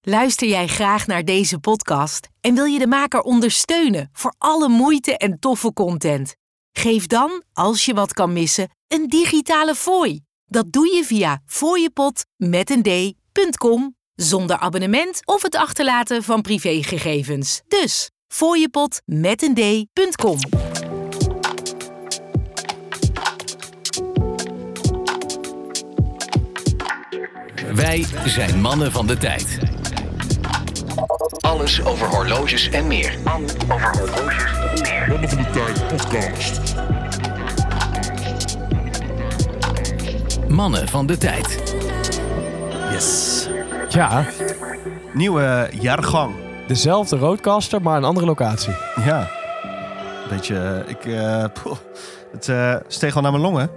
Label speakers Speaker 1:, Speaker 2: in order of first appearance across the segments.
Speaker 1: Luister jij graag naar deze podcast en wil je de maker ondersteunen voor alle moeite en toffe content? Geef dan, als je wat kan missen, een digitale fooi. Dat doe je via fooiepot.com zonder abonnement of het achterlaten van privégegevens. Dus fooiepot.com.
Speaker 2: Wij zijn mannen van de tijd. Alles over horloges en meer.
Speaker 3: Mannen van de Tijd podcast.
Speaker 2: Mannen van de tijd.
Speaker 4: Yes.
Speaker 5: Ja,
Speaker 4: Nieuwe jaargang.
Speaker 5: dezelfde roadcaster, maar een andere locatie.
Speaker 4: Ja. Beetje, eh, ik, eh, poeh, het eh, steeg al naar mijn longen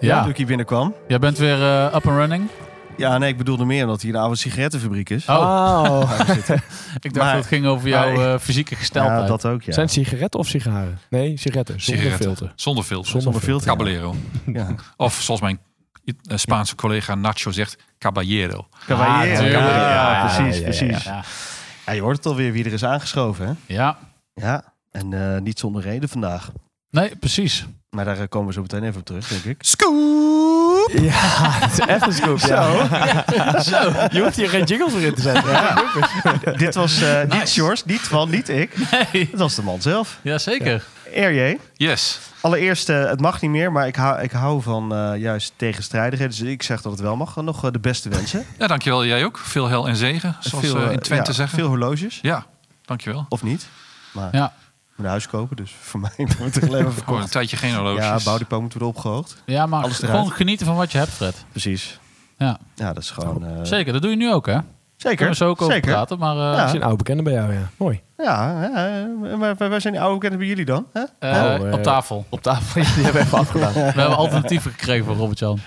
Speaker 4: ja.
Speaker 6: Ja,
Speaker 4: toen ik hier binnenkwam.
Speaker 6: jij bent weer eh, up and running.
Speaker 4: Ja, nee, ik bedoelde meer omdat hier een oude sigarettenfabriek is.
Speaker 6: Oh,
Speaker 5: Oh,
Speaker 6: ik dacht
Speaker 4: maar-
Speaker 6: dat het ging over jouw
Speaker 4: maar-
Speaker 6: eh, fysieke gesteldheid.
Speaker 4: ja, dat ook, ja.
Speaker 5: zijn het sigaretten of sigaren? Nee, sigaretten. Zonder
Speaker 6: Sigaretten.
Speaker 5: filter.
Speaker 6: Zonder filter.
Speaker 4: Zonder filter.
Speaker 6: Caballero.
Speaker 4: Ja.
Speaker 6: Of zoals mijn I- eh, Spaanse collega Nacho zegt, caballero.
Speaker 5: Ah,
Speaker 4: Caballero. ja,
Speaker 6: tuurlijk.
Speaker 4: ja,
Speaker 6: Ja,
Speaker 4: precies,
Speaker 6: ja, ja,
Speaker 4: precies. Ja,
Speaker 6: ja.
Speaker 4: je hoort het alweer wie er is aangeschoven, hè?
Speaker 6: Ja,
Speaker 4: Ja. En eh, niet zonder reden vandaag.
Speaker 6: nee, precies.
Speaker 4: Maar daar eh, komen we zo meteen even op terug, denk ik.
Speaker 5: Ja, het is echt een scoop. Ja. Zo. Je hoeft hier geen jingles voor in te zetten.
Speaker 4: Dit was eh, niet
Speaker 6: Nice.
Speaker 4: George, niet Van, niet ik.
Speaker 6: Hey.
Speaker 4: Het was de man zelf.
Speaker 6: Jazeker.
Speaker 4: RJ.
Speaker 6: Yes.
Speaker 4: Allereerst, eh, het mag niet meer, maar ik hou, ik hou van eh, juist tegenstrijdigheden. Dus ik zeg dat het wel mag. Nog eh, de beste wensen.
Speaker 6: Ja, dankjewel. Jij ook. Veel hel en zegen, zoals
Speaker 4: Veel,
Speaker 6: ze
Speaker 4: eh,
Speaker 6: in Twente
Speaker 4: ja,
Speaker 6: zeggen.
Speaker 4: Veel horloges.
Speaker 6: Ja, dankjewel.
Speaker 4: Of niet. Maar ik
Speaker 6: Ja,
Speaker 4: moet een huis kopen, dus voor mij moet ik alleen maar
Speaker 6: voor een
Speaker 4: verkocht.
Speaker 6: tijdje geen horloges.
Speaker 4: Ja, bouwdepo moet worden opgehoogd.
Speaker 6: Ja, maar
Speaker 4: Alles
Speaker 6: gewoon
Speaker 4: eruit.
Speaker 6: genieten van wat je hebt, Fred.
Speaker 4: Precies.
Speaker 6: Ja, Nou,
Speaker 4: Ja, dat is gewoon... eh,
Speaker 6: zeker. Dat doe je nu ook, hè?
Speaker 4: Zeker.
Speaker 6: Kunnen we zo ook over
Speaker 4: zeker.
Speaker 6: praten, maar... eh,
Speaker 4: Ja.
Speaker 5: Dat is een oude bekende bij jou, ja. Mooi.
Speaker 4: Ja, eh, maar wij wij zijn die oude bekenden bij jullie dan. Hè?
Speaker 6: eh,
Speaker 5: Oh, eh,
Speaker 6: op tafel. Op tafel. Die hebben we even afgedaan. We hebben alternatieven gekregen voor Robert-Jan.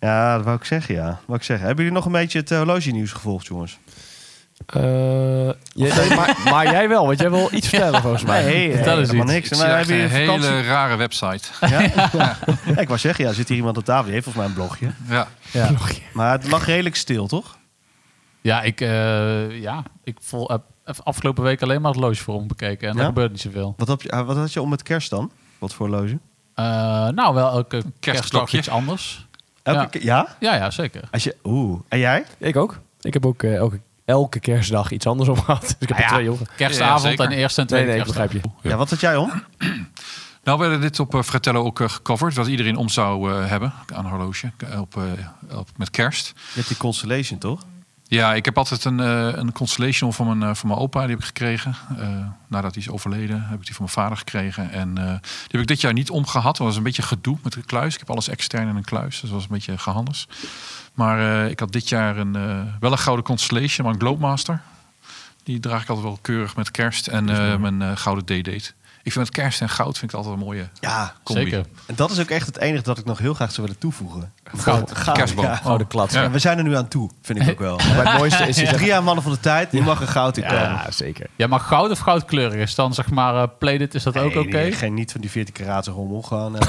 Speaker 4: Ja, dat wou ik zeggen, ja. Wou ik zeggen. Hebben jullie nog een beetje het horloge nieuws gevolgd, jongens?
Speaker 5: Eh, jij- nee, maar, maar jij wel, want jij wil iets vertellen volgens mij.
Speaker 4: Nee, hey,
Speaker 6: vertel eens
Speaker 4: helemaal
Speaker 6: iets.
Speaker 4: niks. Maar
Speaker 6: Ik zie echt
Speaker 4: hebben
Speaker 6: een
Speaker 4: jullie vakantie?
Speaker 6: hele rare website.
Speaker 4: Ja? Ja, ik wou zeggen, ja, zit hier iemand op tafel? Die heeft volgens mij een blogje.
Speaker 6: ja.
Speaker 5: Ja.
Speaker 4: Maar het lag redelijk stil, toch?
Speaker 6: Ja, ik, eh, ja, ik vol, heb heb afgelopen week alleen maar het loge voor bekeken. En
Speaker 4: Ja?
Speaker 6: er gebeurt niet zoveel.
Speaker 4: Wat, heb je, ah, wat had je om met kerst dan? Wat voor horloge?
Speaker 6: Eh, nou, wel elke kerstdag
Speaker 7: kerstklokje.
Speaker 6: iets anders.
Speaker 4: Elke
Speaker 6: Ja.
Speaker 4: ke- ja?
Speaker 6: Ja, ja, zeker.
Speaker 4: Als je, oeh. En jij?
Speaker 5: Ik ook. Ik heb ook eh, elke, elke kerstdag iets anders om gehad. Dus ik heb er twee jongen.
Speaker 7: Ja,
Speaker 6: Kerstavond
Speaker 7: zeker.
Speaker 6: en eerste en
Speaker 5: Nee,
Speaker 6: tweede
Speaker 5: nee, ik
Speaker 6: kerstdag.
Speaker 5: begrijp je.
Speaker 4: Ja, wat had jij om?
Speaker 7: Nou, we hebben dit op eh, Fratello ook eh, gecoverd. Wat iedereen om zou eh, hebben aan een horloge. eh, Op, eh, op, met kerst.
Speaker 4: Je hebt die Constellation, toch?
Speaker 7: Ja, ik heb altijd een, eh, een Constellation van mijn, eh, van mijn opa. Die heb ik gekregen. Eh, nadat hij is overleden heb ik die van mijn vader gekregen. En eh, die heb ik dit jaar niet omgehad. want Dat was een beetje gedoe met de kluis. Ik heb alles extern in een kluis. Dus dat was een beetje gehandels. Maar eh, ik had dit jaar een, eh, wel een gouden Constellation. Maar een Globemaster. Die draag ik altijd wel keurig met kerst. En eh, mijn eh, gouden D-date. Ik vind het kerst en goud vind ik altijd een mooie
Speaker 4: Ja.
Speaker 7: combi.
Speaker 6: Zeker.
Speaker 4: En dat is ook echt het enige dat ik nog heel graag zou willen toevoegen.
Speaker 6: Goud.
Speaker 4: Goud,
Speaker 7: Kerstboom.
Speaker 4: ja.
Speaker 5: Oh, de klats.
Speaker 7: Ja.
Speaker 4: En we zijn er nu aan toe, vind ik ook wel. Maar
Speaker 5: Maar het mooiste is...
Speaker 4: het
Speaker 5: is
Speaker 4: is
Speaker 5: echt-
Speaker 4: drie jaar mannen van de tijd, die mag er goud in komen.
Speaker 5: Ja, zeker.
Speaker 6: Ja, maar goud of goudkleurig is dan zeg maar eh plated, is dat ook
Speaker 4: Nee,
Speaker 6: oké?
Speaker 4: die- Geen niet van die 14 karaten rommel. Gewoon... eh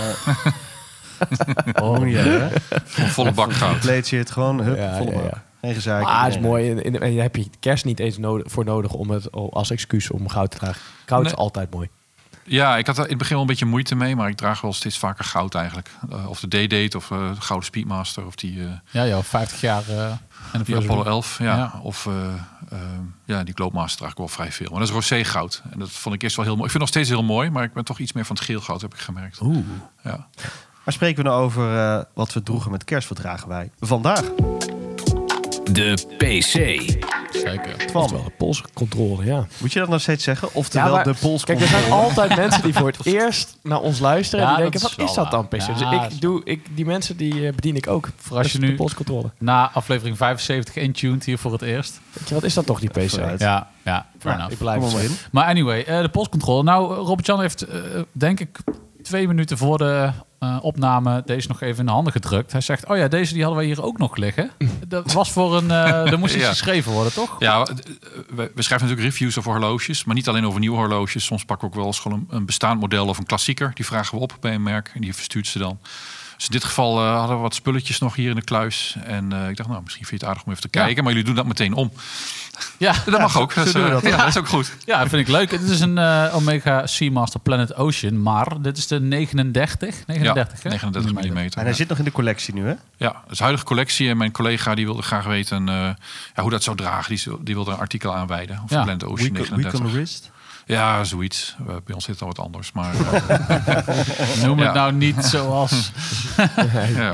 Speaker 4: oh, niet hebben, hè?
Speaker 7: Een volle bak goud.
Speaker 4: Plate shit, gewoon hup,
Speaker 5: Ja,
Speaker 4: volle
Speaker 5: ja,
Speaker 4: bak.
Speaker 5: ja.
Speaker 4: Geen gezeik.
Speaker 5: Ah, het is
Speaker 4: Nee.
Speaker 5: mooi. En, en, en heb je kerst niet eens nodig, voor nodig om het o- als excuus om goud te dragen. Goud is
Speaker 7: Nee.
Speaker 5: altijd mooi.
Speaker 7: Ja, ik had er in het begin wel een beetje moeite mee, maar ik draag wel steeds vaker goud eigenlijk. Eh, of de D-Date of eh, de Gouden Speedmaster of die, eh,
Speaker 6: Ja, joh, 50 jaar eh, en
Speaker 7: die Apollo 11. Ja.
Speaker 6: Ja.
Speaker 7: Of eh, eh, ja, die Globemaster draag ik wel vrij veel. Maar dat is rosé goud. En dat vond ik eerst wel heel mooi. Ik vind het nog steeds heel mooi, maar ik ben toch iets meer van het geel goud, heb ik gemerkt.
Speaker 4: Oeh.
Speaker 7: Ja.
Speaker 4: Maar spreken we nou over eh, wat we droegen met kerst? Wat dragen wij vandaag?
Speaker 2: De PC.
Speaker 6: Zeker.
Speaker 5: Dat is
Speaker 4: Twan,
Speaker 5: wel een polscontrole, ja.
Speaker 4: moet je dat nog steeds zeggen? Oftewel de pols
Speaker 5: Kijk, er zijn altijd mensen die voor het eerst naar ons luisteren. en
Speaker 6: Ja,
Speaker 5: die denken,
Speaker 6: dat is
Speaker 5: wat is
Speaker 6: wel
Speaker 5: dat dan,
Speaker 6: waar.
Speaker 5: PC?
Speaker 6: Ja, dat
Speaker 5: dus
Speaker 6: is
Speaker 5: ik doe, ik, die mensen die eh, bedien ik ook. Voor
Speaker 6: als je nu-
Speaker 5: De polscontrole.
Speaker 6: Na aflevering 75 intuned hier voor het eerst.
Speaker 5: Weet je, wat is dat toch, die PC?
Speaker 4: Vooruit.
Speaker 6: Ja, ja, fair
Speaker 5: Nou,
Speaker 6: enough.
Speaker 5: ik blijf
Speaker 4: Kom
Speaker 5: het
Speaker 4: maar in.
Speaker 5: zeggen.
Speaker 6: Maar anyway, eh, de postcontrole. Nou, Robert-Jan heeft, eh, denk ik, twee minuten voor de eh, opname deze nog even in de handen gedrukt. Hij zegt, oh ja, deze die hadden wij hier ook nog liggen. Dat was voor een... eh er moest iets
Speaker 7: Ja.
Speaker 6: geschreven worden, toch?
Speaker 7: Ja, we, we schrijven natuurlijk reviews over horloges, maar niet alleen over nieuwe horloges. Soms pakken we ook wel eens gewoon een, een bestaand model of een klassieker. Die vragen we op bij een merk en die verstuurt ze dan. Dus in dit geval eh, hadden we wat spulletjes nog hier in de kluis. En eh, ik dacht, nou, misschien vind je het aardig om even te kijken. Maar jullie doen dat meteen om.
Speaker 6: Ja,
Speaker 7: Dat mag ook. Dat is,
Speaker 6: doen we
Speaker 7: eh,
Speaker 6: dat,
Speaker 7: ja, dat is ook goed.
Speaker 6: ja, dat vind ik leuk. Dit is een eh, Omega Seamaster Planet Ocean, maar dit is de 39. 39,
Speaker 7: ja,
Speaker 6: hè?
Speaker 7: 39 mm.
Speaker 4: En hij zit nog in de collectie nu, hè?
Speaker 7: Ja, dat is de huidige collectie. En mijn collega die wilde graag weten eh, ja, hoe dat zou dragen. Die, is- die wilde een artikel aanwijden. Of
Speaker 6: Ja.
Speaker 7: ja. Blend Ocean
Speaker 4: Week- Week on
Speaker 7: 39.
Speaker 4: the wrist.
Speaker 7: Ja, zoiets. Eh, bij ons zit al wat anders. Maar eh,
Speaker 6: Noem het
Speaker 7: Ja.
Speaker 6: nou niet zoals
Speaker 7: ja.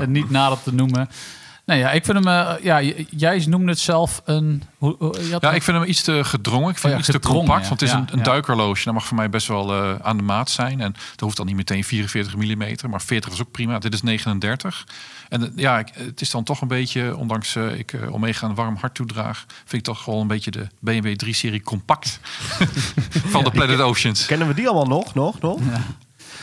Speaker 6: eh, niet nader te noemen. Nee, ja, ik vind hem. eh, ja, j- jij noemde het zelf een. Hoe, hoe- je had
Speaker 7: ja,
Speaker 6: een-
Speaker 7: ik vind hem iets te gedrongen. Ik vind
Speaker 6: Oh ja,
Speaker 7: hem iets
Speaker 6: gedrongen,
Speaker 7: te compact.
Speaker 6: ja.
Speaker 7: Want het is
Speaker 6: Ja,
Speaker 7: een, een
Speaker 6: ja.
Speaker 7: duikerloosje. Dat mag voor mij best wel eh, aan de maat zijn. En dat hoeft dan niet meteen 44 mm. Maar 40 was ook prima. Dit is 39. En eh, ja, ik- het is dan toch een beetje... Ondanks eh, ik eh, Omega een warm hart toedraag... vind ik toch wel een beetje de BMW 3-serie compact. van de Planet Oceans.
Speaker 4: Kennen we die allemaal nog? Nog, nog?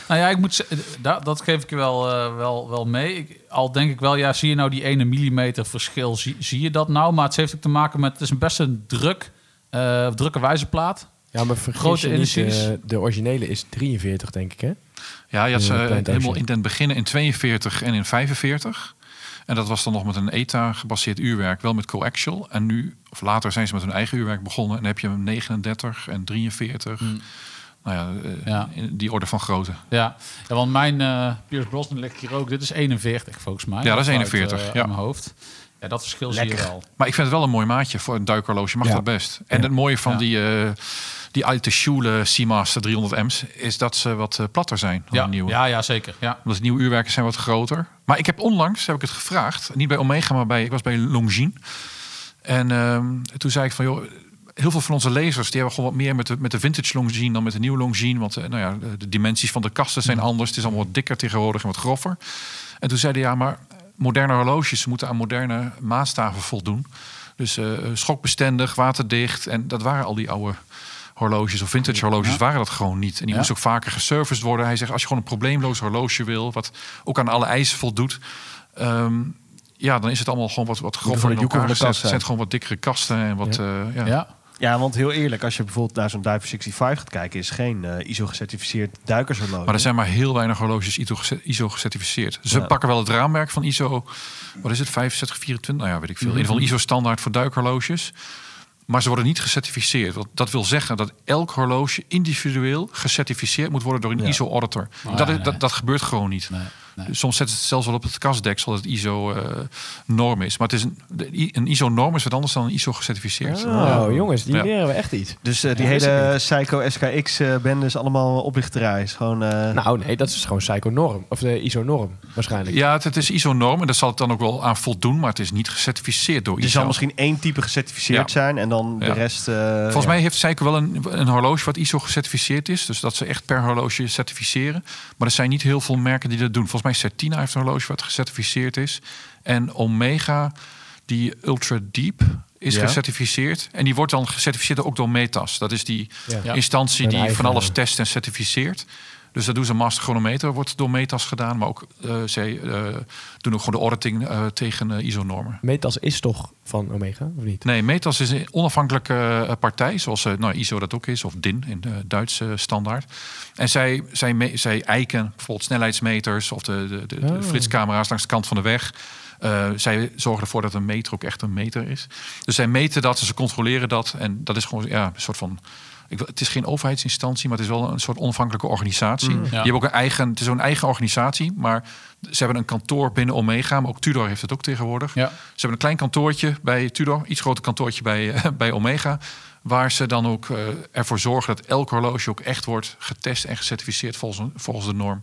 Speaker 6: Nou ja, ik moet ze- da- dat geef ik je wel, eh, wel, wel mee. Ik, al denk ik wel, ja, zie je nou die ene millimeter verschil, zie, zie je dat nou? Maar het heeft ook te maken met, het is een best een druk, eh, drukke wijzerplaat.
Speaker 5: Ja, maar vergis
Speaker 6: Grote
Speaker 5: je niet,
Speaker 6: energies.
Speaker 5: eh, de originele is 43, denk ik, hè?
Speaker 7: Ja, je had ze
Speaker 5: Eh,
Speaker 7: eh,
Speaker 5: Planet
Speaker 7: helemaal
Speaker 5: Ocean.
Speaker 7: in den beginnen in 42 en in 45. En dat was dan nog met een ETA-gebaseerd uurwerk, wel met coaxial. En nu, of later zijn ze met hun eigen uurwerk begonnen. En dan heb je hem 39 en 43.
Speaker 6: Mm.
Speaker 7: Nou ja, eh,
Speaker 6: Ja.
Speaker 7: in die orde van grootte.
Speaker 6: Ja, ja want mijn eh Piers Brosnan ligt hier ook. Dit is 41 volgens mij.
Speaker 7: Ja, dat is
Speaker 6: Uit,
Speaker 7: 41,
Speaker 6: eh,
Speaker 7: ja.
Speaker 6: mijn hoofd. Ja, dat verschil zie je wel.
Speaker 7: Maar ik vind het wel een mooi maatje voor een duikhorloge. Mag
Speaker 5: Ja.
Speaker 7: dat best. En het mooie van
Speaker 6: Ja.
Speaker 7: die, eh die alte Schule Seamaster 300M's... is dat ze wat eh, platter zijn dan
Speaker 6: Ja,
Speaker 7: de nieuwe.
Speaker 6: ja, ja, zeker. Ja.
Speaker 7: Omdat de nieuwe uurwerken zijn wat groter. Maar ik heb onlangs, heb ik het gevraagd, niet bij Omega, maar bij, ik was bij Longines. En ehm, toen zei ik van, joh, heel veel van onze lezers, die hebben gewoon wat meer met de, met de vintage Longines dan met de nieuwe Longines. Want eh, nou ja, de- de dimensies van de kasten
Speaker 5: Mm.
Speaker 7: zijn anders. Het is allemaal wat dikker tegenwoordig en wat grover. En toen zeiden ja, maar moderne horloges moeten aan moderne maatstaven voldoen. Dus eh, schokbestendig, waterdicht. En dat waren al die oude horloges of vintage horloges waren dat gewoon niet. En die
Speaker 6: Ja.
Speaker 7: moest ook vaker geserviced worden. Hij zegt, als je gewoon een probleemloos horloge wil... wat ook aan alle eisen voldoet... ehm, ja, dan is het allemaal gewoon wat, wat grover
Speaker 5: gewoon
Speaker 7: in
Speaker 5: de joeken
Speaker 7: elkaar
Speaker 5: van de kast
Speaker 7: gezet. Het
Speaker 5: zijn.
Speaker 7: zijn gewoon wat dikkere kasten en wat...
Speaker 5: Ja.
Speaker 7: eh, ja.
Speaker 6: Ja.
Speaker 4: Ja, want heel eerlijk, als je bijvoorbeeld naar zo'n Diver 65 gaat kijken, is geen eh, ISO-gecertificeerd duikershorloge.
Speaker 7: Maar er zijn maar heel weinig horloges ISO gece- ISO gecertificeerd. Ze
Speaker 4: Ja.
Speaker 7: pakken wel het raamwerk van ISO, wat is het, 6524? Nou ja, weet ik veel. In ieder geval ISO-standaard voor duikhorloges. Maar ze worden niet gecertificeerd. Want dat wil zeggen dat elk horloge individueel gecertificeerd moet worden door een
Speaker 4: Ja.
Speaker 7: ISO-auditor.
Speaker 6: Ah,
Speaker 7: dat,
Speaker 6: nee.
Speaker 7: dat, dat gebeurt gewoon niet.
Speaker 6: Nee, nee.
Speaker 7: Dus Soms zetten ze het zelfs wel op het kastdeksel dat het ISO-norm is. Maar het is een, de- een ISO-norm is wat anders dan een ISO-gecertificeerd.
Speaker 6: Ah.
Speaker 5: Oh, jongens, die
Speaker 7: Ja.
Speaker 5: leren we echt iets.
Speaker 4: Dus eh, die
Speaker 5: Ja, wist
Speaker 4: hele Psycho SKX-bende is eh, allemaal oplichterij. Is gewoon, eh,
Speaker 5: Nou, nee, dat is gewoon psychonorm. Of de isonorm, waarschijnlijk.
Speaker 7: Ja, het, het is ISO-norm en daar zal het dan ook wel aan voldoen. Maar het is niet gecertificeerd door
Speaker 4: er
Speaker 7: ISO.
Speaker 4: zal misschien één type gecertificeerd
Speaker 7: Ja.
Speaker 4: zijn en dan de
Speaker 7: Ja.
Speaker 4: rest... eh,
Speaker 7: Volgens mij heeft Seiko wel een, een horloge wat ISO gecertificeerd is. Dus dat ze echt per horloge certificeren. Maar er zijn niet heel veel merken die dat doen. Volgens mij Certina heeft een horloge wat gecertificeerd is. En Omega, die Ultra Deep, is
Speaker 4: Ja.
Speaker 7: gecertificeerd. En die wordt dan gecertificeerd ook door Metas. Dat is die
Speaker 5: Ja.
Speaker 6: Ja.
Speaker 7: instantie
Speaker 5: Een
Speaker 7: die
Speaker 5: eigen- eh,
Speaker 7: van alles test en certificeert. Dus dat doen ze. Master Chronometer wordt door Metas gedaan. Maar ook eh zij eh, doen ook gewoon de auditing eh, tegen eh, ISO-normen.
Speaker 5: Metas is toch van Omega, of niet?
Speaker 7: Nee, Metas is een onafhankelijke eh, partij, zoals eh, nou, ISO dat ook is, of DIN in de Duitse standaard. En zij, zij, me- zij eiken bijvoorbeeld snelheidsmeters of de, de, de, de
Speaker 5: Oh.
Speaker 7: flitscamera's langs de kant van de weg. Eh, zij zorgen ervoor dat een meter ook echt een meter is. Dus zij meten dat en ze controleren dat. En dat is gewoon ja, een soort van. Ik, wil- het is geen overheidsinstantie, maar het is wel een soort onafhankelijke organisatie.
Speaker 5: Hmm.
Speaker 7: Die hebben ook een eigen, het is zo'n eigen organisatie, maar ze hebben een kantoor binnen Omega. Maar ook Tudor heeft het ook tegenwoordig.
Speaker 6: Ja.
Speaker 7: Ze hebben een klein kantoortje bij Tudor, iets groter kantoortje bij, eh, bij Omega. Waar ze dan ook eh, ervoor zorgen dat elk horloge ook echt wordt getest en gecertificeerd volgens, een- volgens de norm.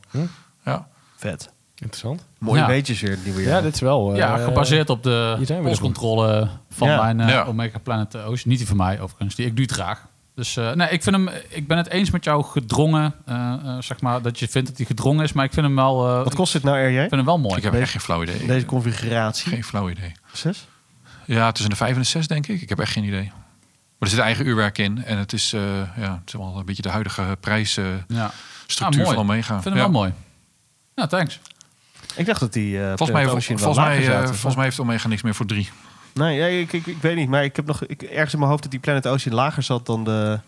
Speaker 7: Ja.
Speaker 4: Vet.
Speaker 5: Interessant.
Speaker 4: Mooie
Speaker 6: Ja.
Speaker 4: weetjes weer, het nieuwe
Speaker 5: Ja,
Speaker 4: jaar.
Speaker 5: dit is wel... eh,
Speaker 6: Ja, gebaseerd op de
Speaker 5: hier zijn we
Speaker 6: postcontrole van
Speaker 4: Ja.
Speaker 6: mijn eh,
Speaker 7: Ja.
Speaker 6: Omega Planet Ocean. Niet die van mij overigens, die ik nu draag. Dus eh, nee, ik, vind hem, ik ben het eens met jou gedrongen, eh, eh, zeg maar, dat je vindt dat hij gedrongen is. Maar ik vind hem wel, eh,
Speaker 4: Wat
Speaker 6: ik
Speaker 4: kost dit nou, RJ?
Speaker 6: vind hem wel mooi.
Speaker 7: Ik heb echt geen flauw idee.
Speaker 4: Deze configuratie?
Speaker 7: Geen flauw idee.
Speaker 4: Zes?
Speaker 7: Ja, tussen de vijf en de zes denk ik. Ik heb echt geen idee. Maar er zit eigen uurwerk in. En het is, eh, ja, het is wel een beetje de huidige prijsstructuur
Speaker 6: Ja.
Speaker 7: structuur
Speaker 6: Ah, mooi.
Speaker 7: van Omega.
Speaker 6: Ik vind hem
Speaker 7: Ja.
Speaker 6: wel mooi. Ja, thanks.
Speaker 4: Ik dacht dat die... eh
Speaker 7: Volgens mij,
Speaker 4: Ocean wel
Speaker 7: volgens, mij,
Speaker 4: lager
Speaker 7: eh,
Speaker 4: zaten.
Speaker 7: volgens mij heeft Omega niks meer voor drie.
Speaker 4: Nee, ja, ik, ik, ik weet niet. Maar ik heb nog ik, ergens in mijn hoofd dat die Planet Ocean lager zat dan de,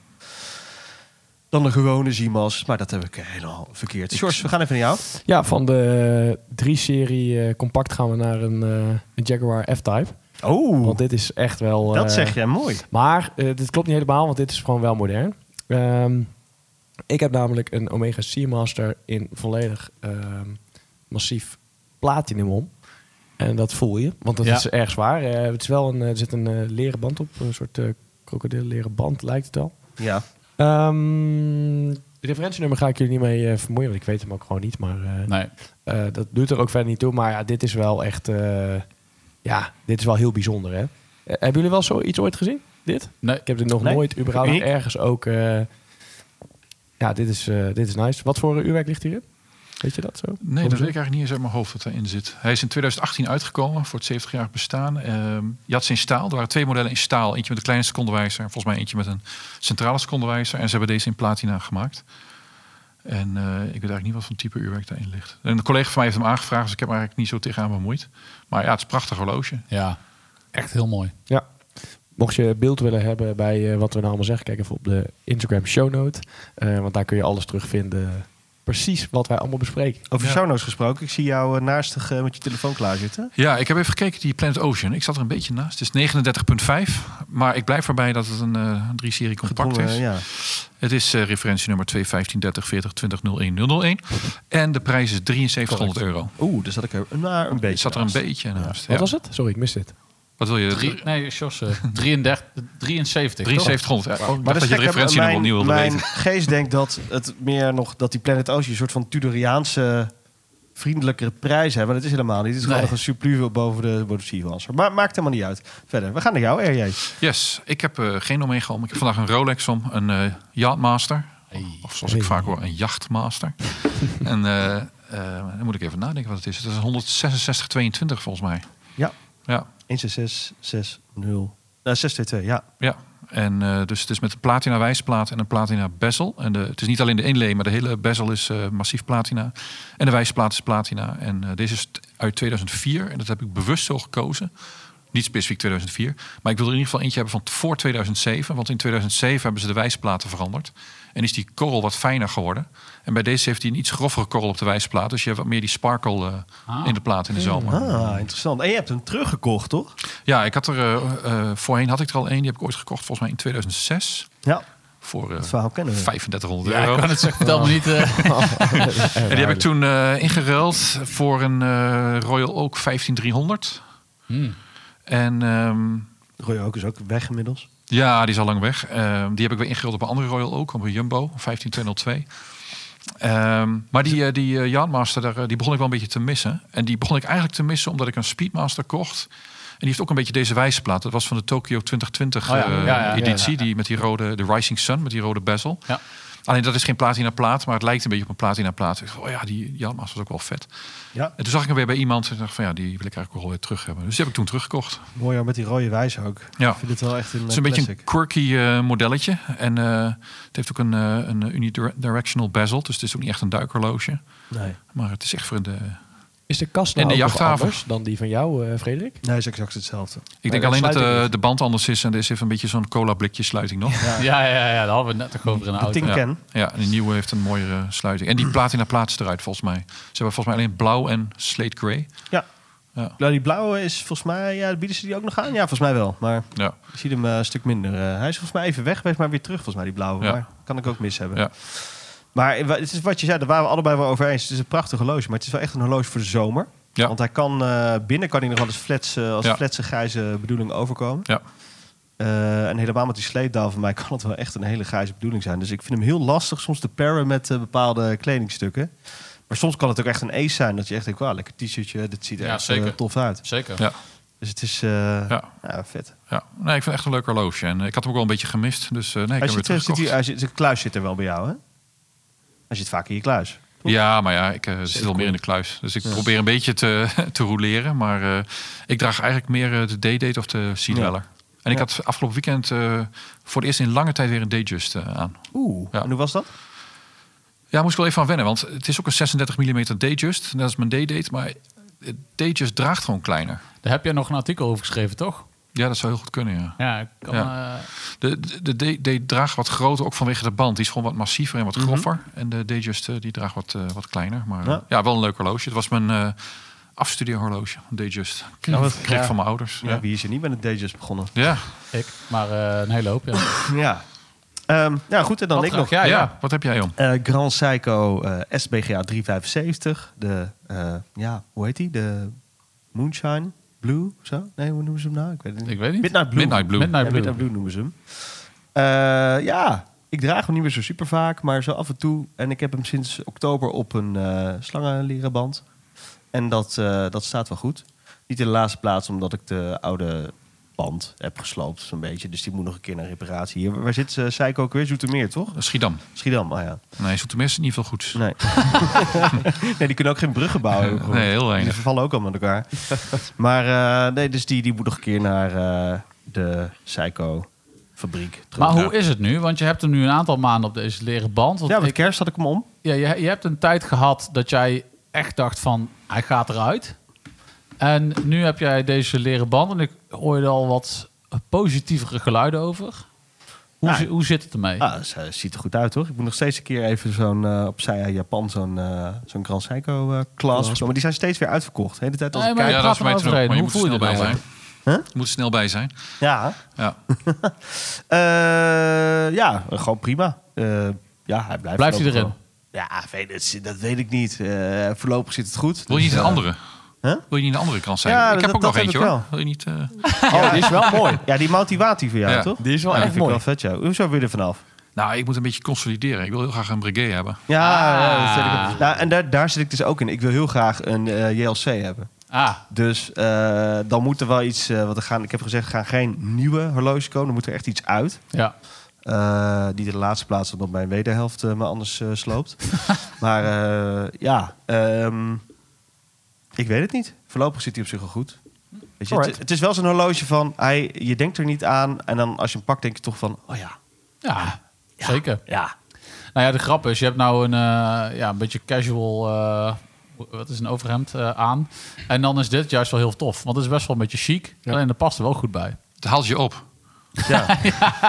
Speaker 4: dan de gewone Zimas. Maar dat heb ik helemaal verkeerd. George, we gaan even naar jou.
Speaker 5: Ja, van de 3-serie compact gaan we naar een, eh, een eh, Jaguar F-Type.
Speaker 4: Oh,
Speaker 5: Want dit is echt wel...
Speaker 4: dat
Speaker 5: eh,
Speaker 4: zeg jij mooi.
Speaker 5: Maar eh, dit klopt niet helemaal, want dit is gewoon wel modern. Ehm, ik heb namelijk een Omega Seamaster in volledig ehm, massief platinum om. En dat voel je, want dat
Speaker 6: Ja.
Speaker 5: is erg zwaar. Eh, het is wel een, er zit een eh, leren band op, een soort eh krokodilleren band lijkt het al.
Speaker 4: Ja.
Speaker 5: Ehm referentienummer ga ik jullie niet mee eh, vermoeien, want ik weet hem ook gewoon niet. Maar eh,
Speaker 6: Nee.
Speaker 5: eh, dat doet er ook verder niet toe. Maar ja, dit is wel echt, eh, ja, dit is wel heel bijzonder hè. Eh, hebben jullie wel zoiets ooit gezien, dit?
Speaker 6: nee.
Speaker 5: Ik heb dit nog
Speaker 4: Nee.
Speaker 5: nooit überhaupt
Speaker 4: Ik?
Speaker 5: ergens ook. eh, ja, dit is, eh, dit is nice. Wat voor eh, uurwerk ligt hierin? Weet je dat zo?
Speaker 7: Nee, dat weet ik eigenlijk niet eens uit mijn hoofd wat daarin zit. Hij is in 2018 uitgekomen voor het 70-jarig bestaan. Ehm je had ze in staal. Er waren twee modellen in staal. Eentje met een kleine secondenwijzer. En volgens mij eentje met een centrale secondenwijzer. En ze hebben deze in platina gemaakt. En eh, ik weet eigenlijk niet wat voor type uurwerk daarin ligt. En een collega van mij heeft hem aangevraagd. Dus ik heb me eigenlijk niet zo tegenaan bemoeid. Maar ja, het is een prachtig horloge.
Speaker 6: Ja, echt heel mooi.
Speaker 5: Ja. Mocht je beeld willen hebben bij eh, wat we nou allemaal zeggen, kijk even op de Instagram show note. Eh, want daar kun je alles terugvinden. Precies wat wij allemaal bespreken.
Speaker 4: Over
Speaker 7: Ja.
Speaker 4: show notes gesproken. Ik zie jou eh, naastig eh, met je telefoon klaar zitten.
Speaker 7: Ja, ik heb even gekeken die Planet Ocean. Ik zat er een beetje naast. Het is 39,5. Maar ik blijf erbij dat het een eh drie serie compact
Speaker 4: Gedwongen,
Speaker 7: is.
Speaker 4: ja.
Speaker 7: Het is eh referentie nummer 21530402001. En de prijs is 7300 euro.
Speaker 4: Oeh, daar zat ik er maar een beetje
Speaker 7: Ik zat er een
Speaker 4: naast.
Speaker 7: beetje naast.
Speaker 5: Wat
Speaker 7: ja.
Speaker 5: was het? Sorry, ik mis dit.
Speaker 7: Wat wil je?
Speaker 6: Drie, nee, Jos, eh, 33, 73. toch?
Speaker 7: 7300. Ja, oh, ik
Speaker 4: Maar is
Speaker 7: dacht dat je de
Speaker 4: gek, hè?
Speaker 7: referentie
Speaker 4: mijn,
Speaker 7: nummer opnieuw wilde
Speaker 4: Mijn
Speaker 7: weten.
Speaker 4: geest denkt dat het meer nog dat die Planet Ocean een soort van Tudoriaanse vriendelijkere prijs hebben. Dat is helemaal niet. Het is gewoon
Speaker 6: Nee.
Speaker 4: nog een surplus boven de boven de Sealancer. Maar maakt helemaal niet uit. Verder, we gaan naar jou, RJ.
Speaker 7: Yes, ik heb eh, geen Omega om. Ik heb vandaag een Rolex om. Een eh, Yachtmaster. Of zoals ik
Speaker 5: Hey.
Speaker 7: vaak hoor, een Jachtmaster. en eh, eh, dan moet ik even nadenken wat het is. Het is een 166,22 volgens mij.
Speaker 4: Ja,
Speaker 7: Ja,
Speaker 4: 16660. Nou, 622, ja.
Speaker 7: Ja, en eh, dus het is met een platina wijsplaat en een platina bezel. En de, het is niet alleen de inlay, maar de hele bezel is eh, massief platina. En de wijsplaat is platina. En eh, deze is t- uit 2004 en dat heb ik bewust zo gekozen. Niet specifiek 2004, maar ik wil er in ieder geval eentje hebben van t- voor 2007. Want in 2007 hebben ze de wijsplaten veranderd. En is die korrel wat fijner geworden. En bij deze heeft hij een iets grovere korrel op de wijsplaat. Dus je hebt wat meer die sparkle eh, in de plaat in de zomer.
Speaker 4: Ah, interessant. En je hebt hem teruggekocht, toch?
Speaker 7: Ja, ik had er, eh, eh, voorheen had ik er al één. Die heb ik ooit gekocht, volgens mij in 2006
Speaker 4: Ja,
Speaker 7: voor eh,
Speaker 4: het verhaal kennen we.
Speaker 7: 3500
Speaker 6: Ja,
Speaker 7: euro.
Speaker 6: ik kan het zeggen. Vertel me niet. eh,
Speaker 7: En die heb ik toen eh, ingeruild voor een eh, Royal Oak 15300.
Speaker 6: hmm.
Speaker 7: En ehm,
Speaker 4: Roy ook is ook weg inmiddels.
Speaker 7: ja, die is al lang weg. Ehm, die heb ik weer ingeruild op een andere Royal Oak, op een Jumbo 15202. Ehm, maar die, eh, die eh, Janmaster, daar, eh, die begon ik wel een beetje te missen. En die begon ik eigenlijk te missen omdat ik een Speedmaster kocht. En die heeft ook een beetje deze wijsplaat. Dat was van de Tokyo 2020
Speaker 6: Oh ja,
Speaker 7: eh,
Speaker 6: ja, ja, ja,
Speaker 7: editie.
Speaker 6: ja, ja.
Speaker 7: Die met die rode, de Rising Sun, met die rode bezel.
Speaker 6: Ja.
Speaker 7: Alleen dat is geen platina plaat, maar het lijkt een beetje op een platina plaat. Ik dacht, oh ja, die Janmaster was ook wel vet.
Speaker 4: Ja,
Speaker 7: En toen zag ik hem weer bij iemand en dacht van ja, die wil ik eigenlijk wel weer terug hebben. Dus die heb ik toen teruggekocht.
Speaker 4: mooi hoor, met die rode wijs ook.
Speaker 7: Ja.
Speaker 4: Ik vind het wel echt een,
Speaker 7: Het is een
Speaker 4: eh,
Speaker 7: beetje een
Speaker 4: classic.
Speaker 7: quirky eh, modelletje. En eh, het heeft ook een, eh, een unidirectional bezel. Dus het is ook niet echt een duikhorloge.
Speaker 4: Nee.
Speaker 7: Maar het is echt voor de...
Speaker 5: Is de kast
Speaker 7: En
Speaker 5: nou
Speaker 7: de
Speaker 5: ook nog
Speaker 7: jachthaven.
Speaker 5: anders dan die van jou, eh, Frederik?
Speaker 4: nee, is exact hetzelfde.
Speaker 7: Ik
Speaker 5: dat
Speaker 7: denk alleen dat eh,
Speaker 5: sluit ik
Speaker 7: de,
Speaker 5: niet.
Speaker 7: de band anders is. En er is even een beetje zo'n cola blikje sluiting nog. Ja.
Speaker 6: ja, ja, ja, daar hadden we het net ook over in de
Speaker 4: De
Speaker 6: auto.
Speaker 4: Tinken.
Speaker 7: en die nieuwe heeft een mooiere sluiting. En die platina plaat is eruit volgens mij. Ze hebben volgens mij alleen blauw en slate grey.
Speaker 4: Ja.
Speaker 7: Ja.
Speaker 4: Nou, die blauwe is volgens mij, ja, bieden ze die ook nog aan? Ja, volgens mij wel. Maar
Speaker 7: Ja.
Speaker 4: ik zie hem eh, een stuk minder. Eh, hij is volgens mij even weg geweest, maar weer terug volgens mij, die blauwe.
Speaker 7: Ja.
Speaker 4: Maar kan ik ook mis hebben.
Speaker 7: Ja.
Speaker 4: Maar eh, wa- het is wat je zei, daar waren we allebei wel over eens. Het is een prachtig horloge, maar het is wel echt een horloge voor de zomer.
Speaker 7: Ja.
Speaker 4: Want hij kan, eh, binnen kan hij nog wel eens flats, eh, als
Speaker 7: Ja.
Speaker 4: flatse grijze bedoeling overkomen.
Speaker 7: Ja.
Speaker 4: Eh, en helemaal met die sleepdaal van mij kan het wel echt een hele grijze bedoeling zijn. Dus ik vind hem heel lastig soms te paren met eh, bepaalde kledingstukken. Maar soms kan het ook echt een ace zijn. Dat je echt denkt, wauw, lekker t-shirtje. Dit ziet er
Speaker 6: Ja,
Speaker 4: echt eh,
Speaker 6: zeker.
Speaker 4: tof uit.
Speaker 6: Zeker.
Speaker 7: Ja.
Speaker 4: Dus het is eh, ja.
Speaker 7: Ja.
Speaker 4: vet.
Speaker 7: Ja, nee, ik vind het echt een leuk horloge. En eh, ik had hem ook wel een beetje gemist. Dus eh, nee, ik
Speaker 4: Hij
Speaker 7: heb hem weer
Speaker 4: zit, eh, zit
Speaker 7: teruggekocht.
Speaker 4: hier, hij zit, zijn kluis zit er wel bij jou, hè? Hij zit vaak in je kluis.
Speaker 7: Ja, maar ja, ik eh, zit wel meer in de kluis. Dus ik probeer een beetje te, te roleren. Maar eh, ik draag eigenlijk meer eh, de Day-Date of de Sea Dweller. En ik had afgelopen weekend eh, voor het eerst in lange tijd weer een Dayjust eh aan.
Speaker 4: Oeh.
Speaker 7: Ja.
Speaker 4: En hoe was dat?
Speaker 7: Ja, moest ik wel even aan wennen. Want het is ook een 36 mm Dayjust. Dat is mijn Day-Date. Maar eh, Dayjust draagt gewoon kleiner.
Speaker 6: Daar heb jij nog een artikel over geschreven, toch?
Speaker 7: Ja, dat zou heel goed kunnen, ja.
Speaker 6: Ja, ik kan, eh,
Speaker 7: De, de, de, de draagt wat groter, ook vanwege de band. Die is gewoon wat massiever en wat grover. En de Dayjust eh, die draagt wat, eh, wat kleiner. Maar eh,
Speaker 4: Mhm. Ja.
Speaker 7: ja. wel een leuk horloge. Het was mijn eh, afstudeerhorloge. Dayjust. Kreeg,
Speaker 6: Ja, wat-
Speaker 7: kreeg
Speaker 6: ja.
Speaker 7: van mijn ouders.
Speaker 4: Ja,
Speaker 7: Ja.
Speaker 4: Wie is er niet met een Dayjust begonnen?
Speaker 7: Ja.
Speaker 6: Ik, maar eh, een hele hoop. Ja.
Speaker 4: Ja. Ehm, ja, goed. En dan
Speaker 6: Wat
Speaker 4: ik nog.
Speaker 6: graag, Ja, ja.
Speaker 7: Ja, wat heb jij om?
Speaker 4: Eh, Grand Psycho eh, SBGA 375. De, eh, ja, hoe heet die? De Moonshine Blue of zo? Nee, hoe noemen ze hem nou? Ik weet het niet.
Speaker 6: Ik weet niet.
Speaker 4: Midnight Blue.
Speaker 7: Midnight Blue.
Speaker 6: Midnight
Speaker 4: Ja,
Speaker 6: Blue.
Speaker 4: Midnight Blue noemen ze hem. Eh, ja, ik draag hem niet meer zo super vaak, maar zo af en toe. En ik heb hem sinds oktober op een eh slangenleren band. En dat, eh, dat staat wel goed. Niet in de laatste plaats, omdat ik de oude band heb gesloopt, zo'n beetje. Dus die moet nog een keer naar reparatie. Hier, waar zit ze? Seiko ook weer? Zoetermeer, toch?
Speaker 7: Schiedam.
Speaker 4: Schiedam, ah ja.
Speaker 7: Nee, Soetermeer is niet veel goeds.
Speaker 4: Nee. nee, die kunnen ook geen bruggen bouwen. heb ik gehoord.
Speaker 7: Nee, heel weinig.
Speaker 4: Die vervallen ook allemaal met elkaar. maar eh, nee, dus die, die moet nog een keer naar eh, de Psycho-fabriek.
Speaker 6: Maar
Speaker 4: terug.
Speaker 6: hoe is het nu? Want je hebt hem nu een aantal maanden op deze leren band. Want
Speaker 4: Ja, met
Speaker 6: ik-
Speaker 4: kerst had ik hem om.
Speaker 6: ja, je, je hebt een tijd gehad dat jij echt dacht van, hij gaat eruit. En nu heb jij deze leren band en ik hoor er al wat positievere geluiden over. Hoe,
Speaker 4: Nou,
Speaker 6: zi- hoe zit het ermee?
Speaker 4: Ah, ze ze ziet er goed uit, toch? Ik moet nog steeds een keer even zo'n eh, opzij uit Japan, zo'n eh zo'n Grand Psycho-klas. maar die zijn steeds weer uitverkocht. De hele tijd als
Speaker 6: Nee,
Speaker 4: ik
Speaker 6: maar-
Speaker 4: kijk.
Speaker 6: praat er nou
Speaker 7: toen ook,
Speaker 6: overheen.
Speaker 7: maar je
Speaker 6: Hoe
Speaker 7: moet er
Speaker 6: voel je
Speaker 7: snel bij
Speaker 6: er nou
Speaker 7: zijn.
Speaker 4: over?
Speaker 7: Je moet er snel bij zijn.
Speaker 4: Ja,
Speaker 7: Ja.
Speaker 4: Eh, ja gewoon prima. Eh, ja, hij blijft,
Speaker 6: Blijft hij
Speaker 4: voorlopig
Speaker 6: erin?
Speaker 4: wel. Ja, weet, het- dat weet ik niet. Eh, voorlopig zit het goed.
Speaker 7: Wil je niet
Speaker 4: Dus,
Speaker 7: een
Speaker 4: eh,
Speaker 7: andere?
Speaker 4: Huh?
Speaker 7: Wil je niet een andere kans zijn?
Speaker 4: Ja,
Speaker 7: ik
Speaker 4: dat-
Speaker 7: heb ook
Speaker 4: dat
Speaker 7: nog
Speaker 4: heb
Speaker 7: eentje
Speaker 4: ik
Speaker 7: hoor.
Speaker 4: wel.
Speaker 7: Wil je niet... eh,
Speaker 5: Oh, die is wel mooi.
Speaker 4: Ja, die motivatie voor jou,
Speaker 7: Ja.
Speaker 4: toch?
Speaker 5: Die is wel
Speaker 4: Ja, die
Speaker 5: echt
Speaker 4: vind ik
Speaker 5: mooi.
Speaker 4: wel vet, ja. Hoezo weer er vanaf?
Speaker 7: Nou, ik moet een beetje consolideren. Ik wil heel graag een brigade hebben.
Speaker 4: Ja,
Speaker 6: Ah.
Speaker 4: ja, dat zit ik- nou, en daar, daar zit ik dus ook in. Ik wil heel graag een eh, JLC hebben.
Speaker 6: Ah,
Speaker 4: Dus eh, dan moet er wel iets... eh, wat er gaan, ik heb gezegd, er gaan geen nieuwe horloges komen. Er moet er echt iets uit.
Speaker 6: Ah, ja.
Speaker 4: Eh, die de laatste plaats dan op mijn wederhelft eh, me anders eh, sloopt. maar eh, ja, ehm, ik weet het niet. Voorlopig zit hij op zich wel goed. Weet je, het,
Speaker 5: Alright.
Speaker 4: het is wel zo'n horloge van, hij, je denkt er niet aan. En dan als je hem pakt, denk je toch van, oh ja,
Speaker 6: Ja, zeker.
Speaker 4: ja.
Speaker 6: Nou ja, de grap is, je hebt nou een, eh, ja, een beetje casual, eh, wat is een overhemd eh, aan. En dan is dit juist wel heel tof, want het is best wel een beetje chic. Alleen dat past er wel goed bij.
Speaker 7: Het haalt je op.
Speaker 4: Ja.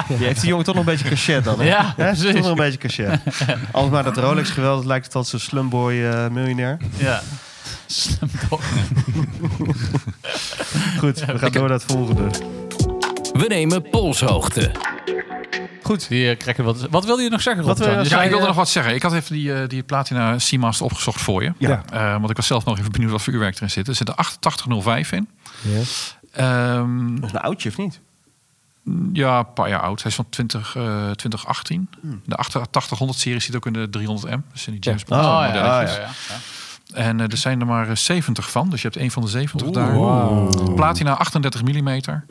Speaker 4: Die heeft die jongen toch nog een beetje cachet dan. Hè?
Speaker 6: Ja,
Speaker 4: Hè?
Speaker 6: precies.
Speaker 4: Toch nog een beetje cachet. Als maar dat Rolex geweld lijkt het als een slumboy eh, miljonair.
Speaker 6: Ja. Slim toch?
Speaker 4: Goed, we gaan door naar het volgende.
Speaker 2: We nemen polshoogte.
Speaker 6: Goed. Hier krijg je wat. Wat wilde je nog zeggen,
Speaker 4: Wat
Speaker 6: Rob?
Speaker 4: wil je nog
Speaker 6: Je
Speaker 7: Ja,
Speaker 6: zei,
Speaker 7: ik wilde
Speaker 6: eh,
Speaker 7: nog wat zeggen. Ik had even die, eh, die Platina Seamaster opgezocht voor je.
Speaker 4: Ja.
Speaker 7: Eh, want ik was zelf nog even benieuwd wat voor uurwerk erin zit. Er zit een 8805 in.
Speaker 5: Yes.
Speaker 7: Ehm,
Speaker 4: Nog een oudje of niet?
Speaker 7: ja, een paar jaar oud. Hij is van 20, eh, 2018. De 8800 serie zit ook in de 300M. Dus in die James Bond
Speaker 6: Oh, Hmm. ja,
Speaker 7: modelletjes.
Speaker 6: ja, ja, ja.
Speaker 7: En eh, er zijn er maar eh, 70 van. Dus je hebt één van de 70 daar. Platina 38 mm.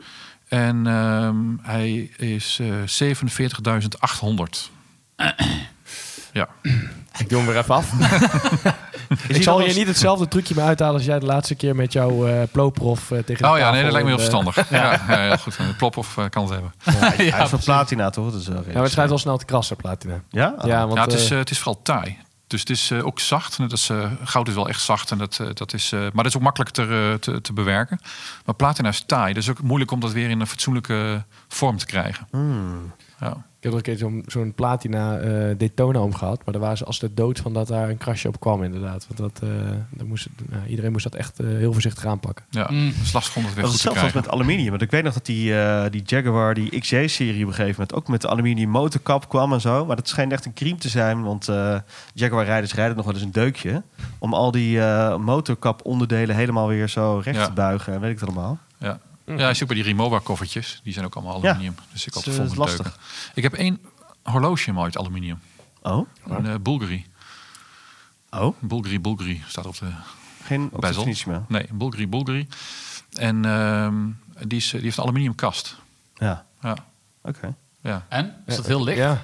Speaker 7: En ehm, hij is eh 47.800. ja.
Speaker 5: Ik doe hem weer even af. ik zal je niet hetzelfde trucje mee uithalen als jij de laatste keer met jouw eh plooprof eh, tegen de
Speaker 7: Oh ja,
Speaker 5: tafel
Speaker 7: nee, dat lijkt me heel
Speaker 5: en, eh,
Speaker 7: verstandig. ja, ja, heel goed. Een plop of eh, kan het hebben.
Speaker 4: Hij is van platina toch? Dat is wel
Speaker 5: Ja,
Speaker 4: redelijk
Speaker 5: maar het schijnt wel snel te krassen, platina.
Speaker 4: Ja? Ah.
Speaker 5: Ja, want
Speaker 7: Ja, het, is,
Speaker 5: eh,
Speaker 7: eh, het is vooral taai. Dus het is eh, ook zacht. Net als, eh, goud is wel echt zacht. En dat, eh, dat is, eh, maar dat is ook makkelijk te, eh, te, te bewerken. Maar platina is taai. Dus ook moeilijk om dat weer in een fatsoenlijke vorm te krijgen.
Speaker 4: Hmm.
Speaker 7: Ja.
Speaker 5: ik heb nog een keer zo'n, zo'n platina eh, Daytona omgehad. Maar daar waren ze als de dood van dat daar een krasje op kwam, inderdaad. Want dat, eh, daar moest, het- nou, iedereen moest dat echt eh, heel voorzichtig aanpakken.
Speaker 7: Ja,
Speaker 6: Mm.
Speaker 7: het is lastig om dat weer
Speaker 4: Dat is
Speaker 7: goed te
Speaker 4: hetzelfde als
Speaker 7: krijgen.
Speaker 4: met aluminium. Want ik weet nog dat die, eh, die Jaguar, die XJ-serie op een gegeven moment... ook met de aluminium motorkap kwam en zo. Maar dat schijnt echt een crime te zijn. Want eh, Jaguar-rijders rijden nog wel eens een deukje... om al die eh, motorkap-onderdelen helemaal weer zo recht
Speaker 7: Ja.
Speaker 4: te buigen. En weet ik het allemaal.
Speaker 7: Ja. ja, is ook bij die Rimowa koffertjes. Die zijn ook allemaal
Speaker 4: Ja.
Speaker 7: aluminium. Dus ik
Speaker 4: Dat
Speaker 7: had
Speaker 4: is,
Speaker 7: vol
Speaker 4: eh,
Speaker 7: met
Speaker 4: lastig.
Speaker 7: deuken. Ik heb één horloge maar uit aluminium.
Speaker 4: Oh?
Speaker 7: Een eh, Bulgari.
Speaker 4: Oh?
Speaker 7: Bulgari, Bulgari staat op de
Speaker 4: Geen op de
Speaker 7: bezel.
Speaker 4: finish meer.
Speaker 7: Nee, Bulgari, Bulgari. En ehm, die, is, eh, die heeft een aluminium kast.
Speaker 4: Ja,
Speaker 7: Ja.
Speaker 4: oké.
Speaker 7: Ja,
Speaker 6: En? Is dat heel licht?
Speaker 5: Ja.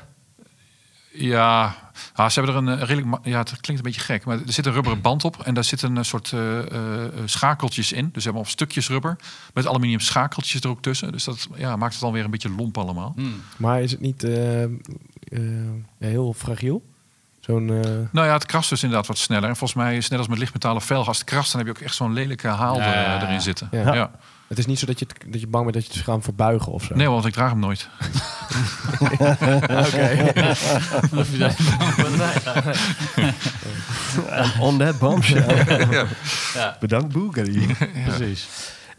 Speaker 7: ja. Ah, ze hebben er een eh, redelijk. ma- Ja, het klinkt een beetje gek, maar er zit een rubberen band op en daar zitten een soort eh, eh, eh, schakeltjes in. Dus ze hebben al stukjes rubber met aluminium schakeltjes er ook tussen. Dus dat ja, maakt het dan weer een beetje lomp allemaal.
Speaker 6: Hmm.
Speaker 5: Maar is het niet eh, eh, ja, heel fragiel? Zo'n... eh,
Speaker 7: Nou ja, het krast dus inderdaad wat sneller. En volgens mij is het net als met lichtmetalen velgen. Als het krast, dan heb je ook echt zo'n lelijke haal er-
Speaker 6: Ja.
Speaker 7: erin zitten.
Speaker 5: Ja.
Speaker 7: Ja.
Speaker 5: Het is niet zo dat je, het- dat je bang bent dat je het gaat verbuigen of zo.
Speaker 7: Nee, want ik draag hem nooit.
Speaker 4: On that bombshell. Bedankt, Bulgari.
Speaker 6: Precies.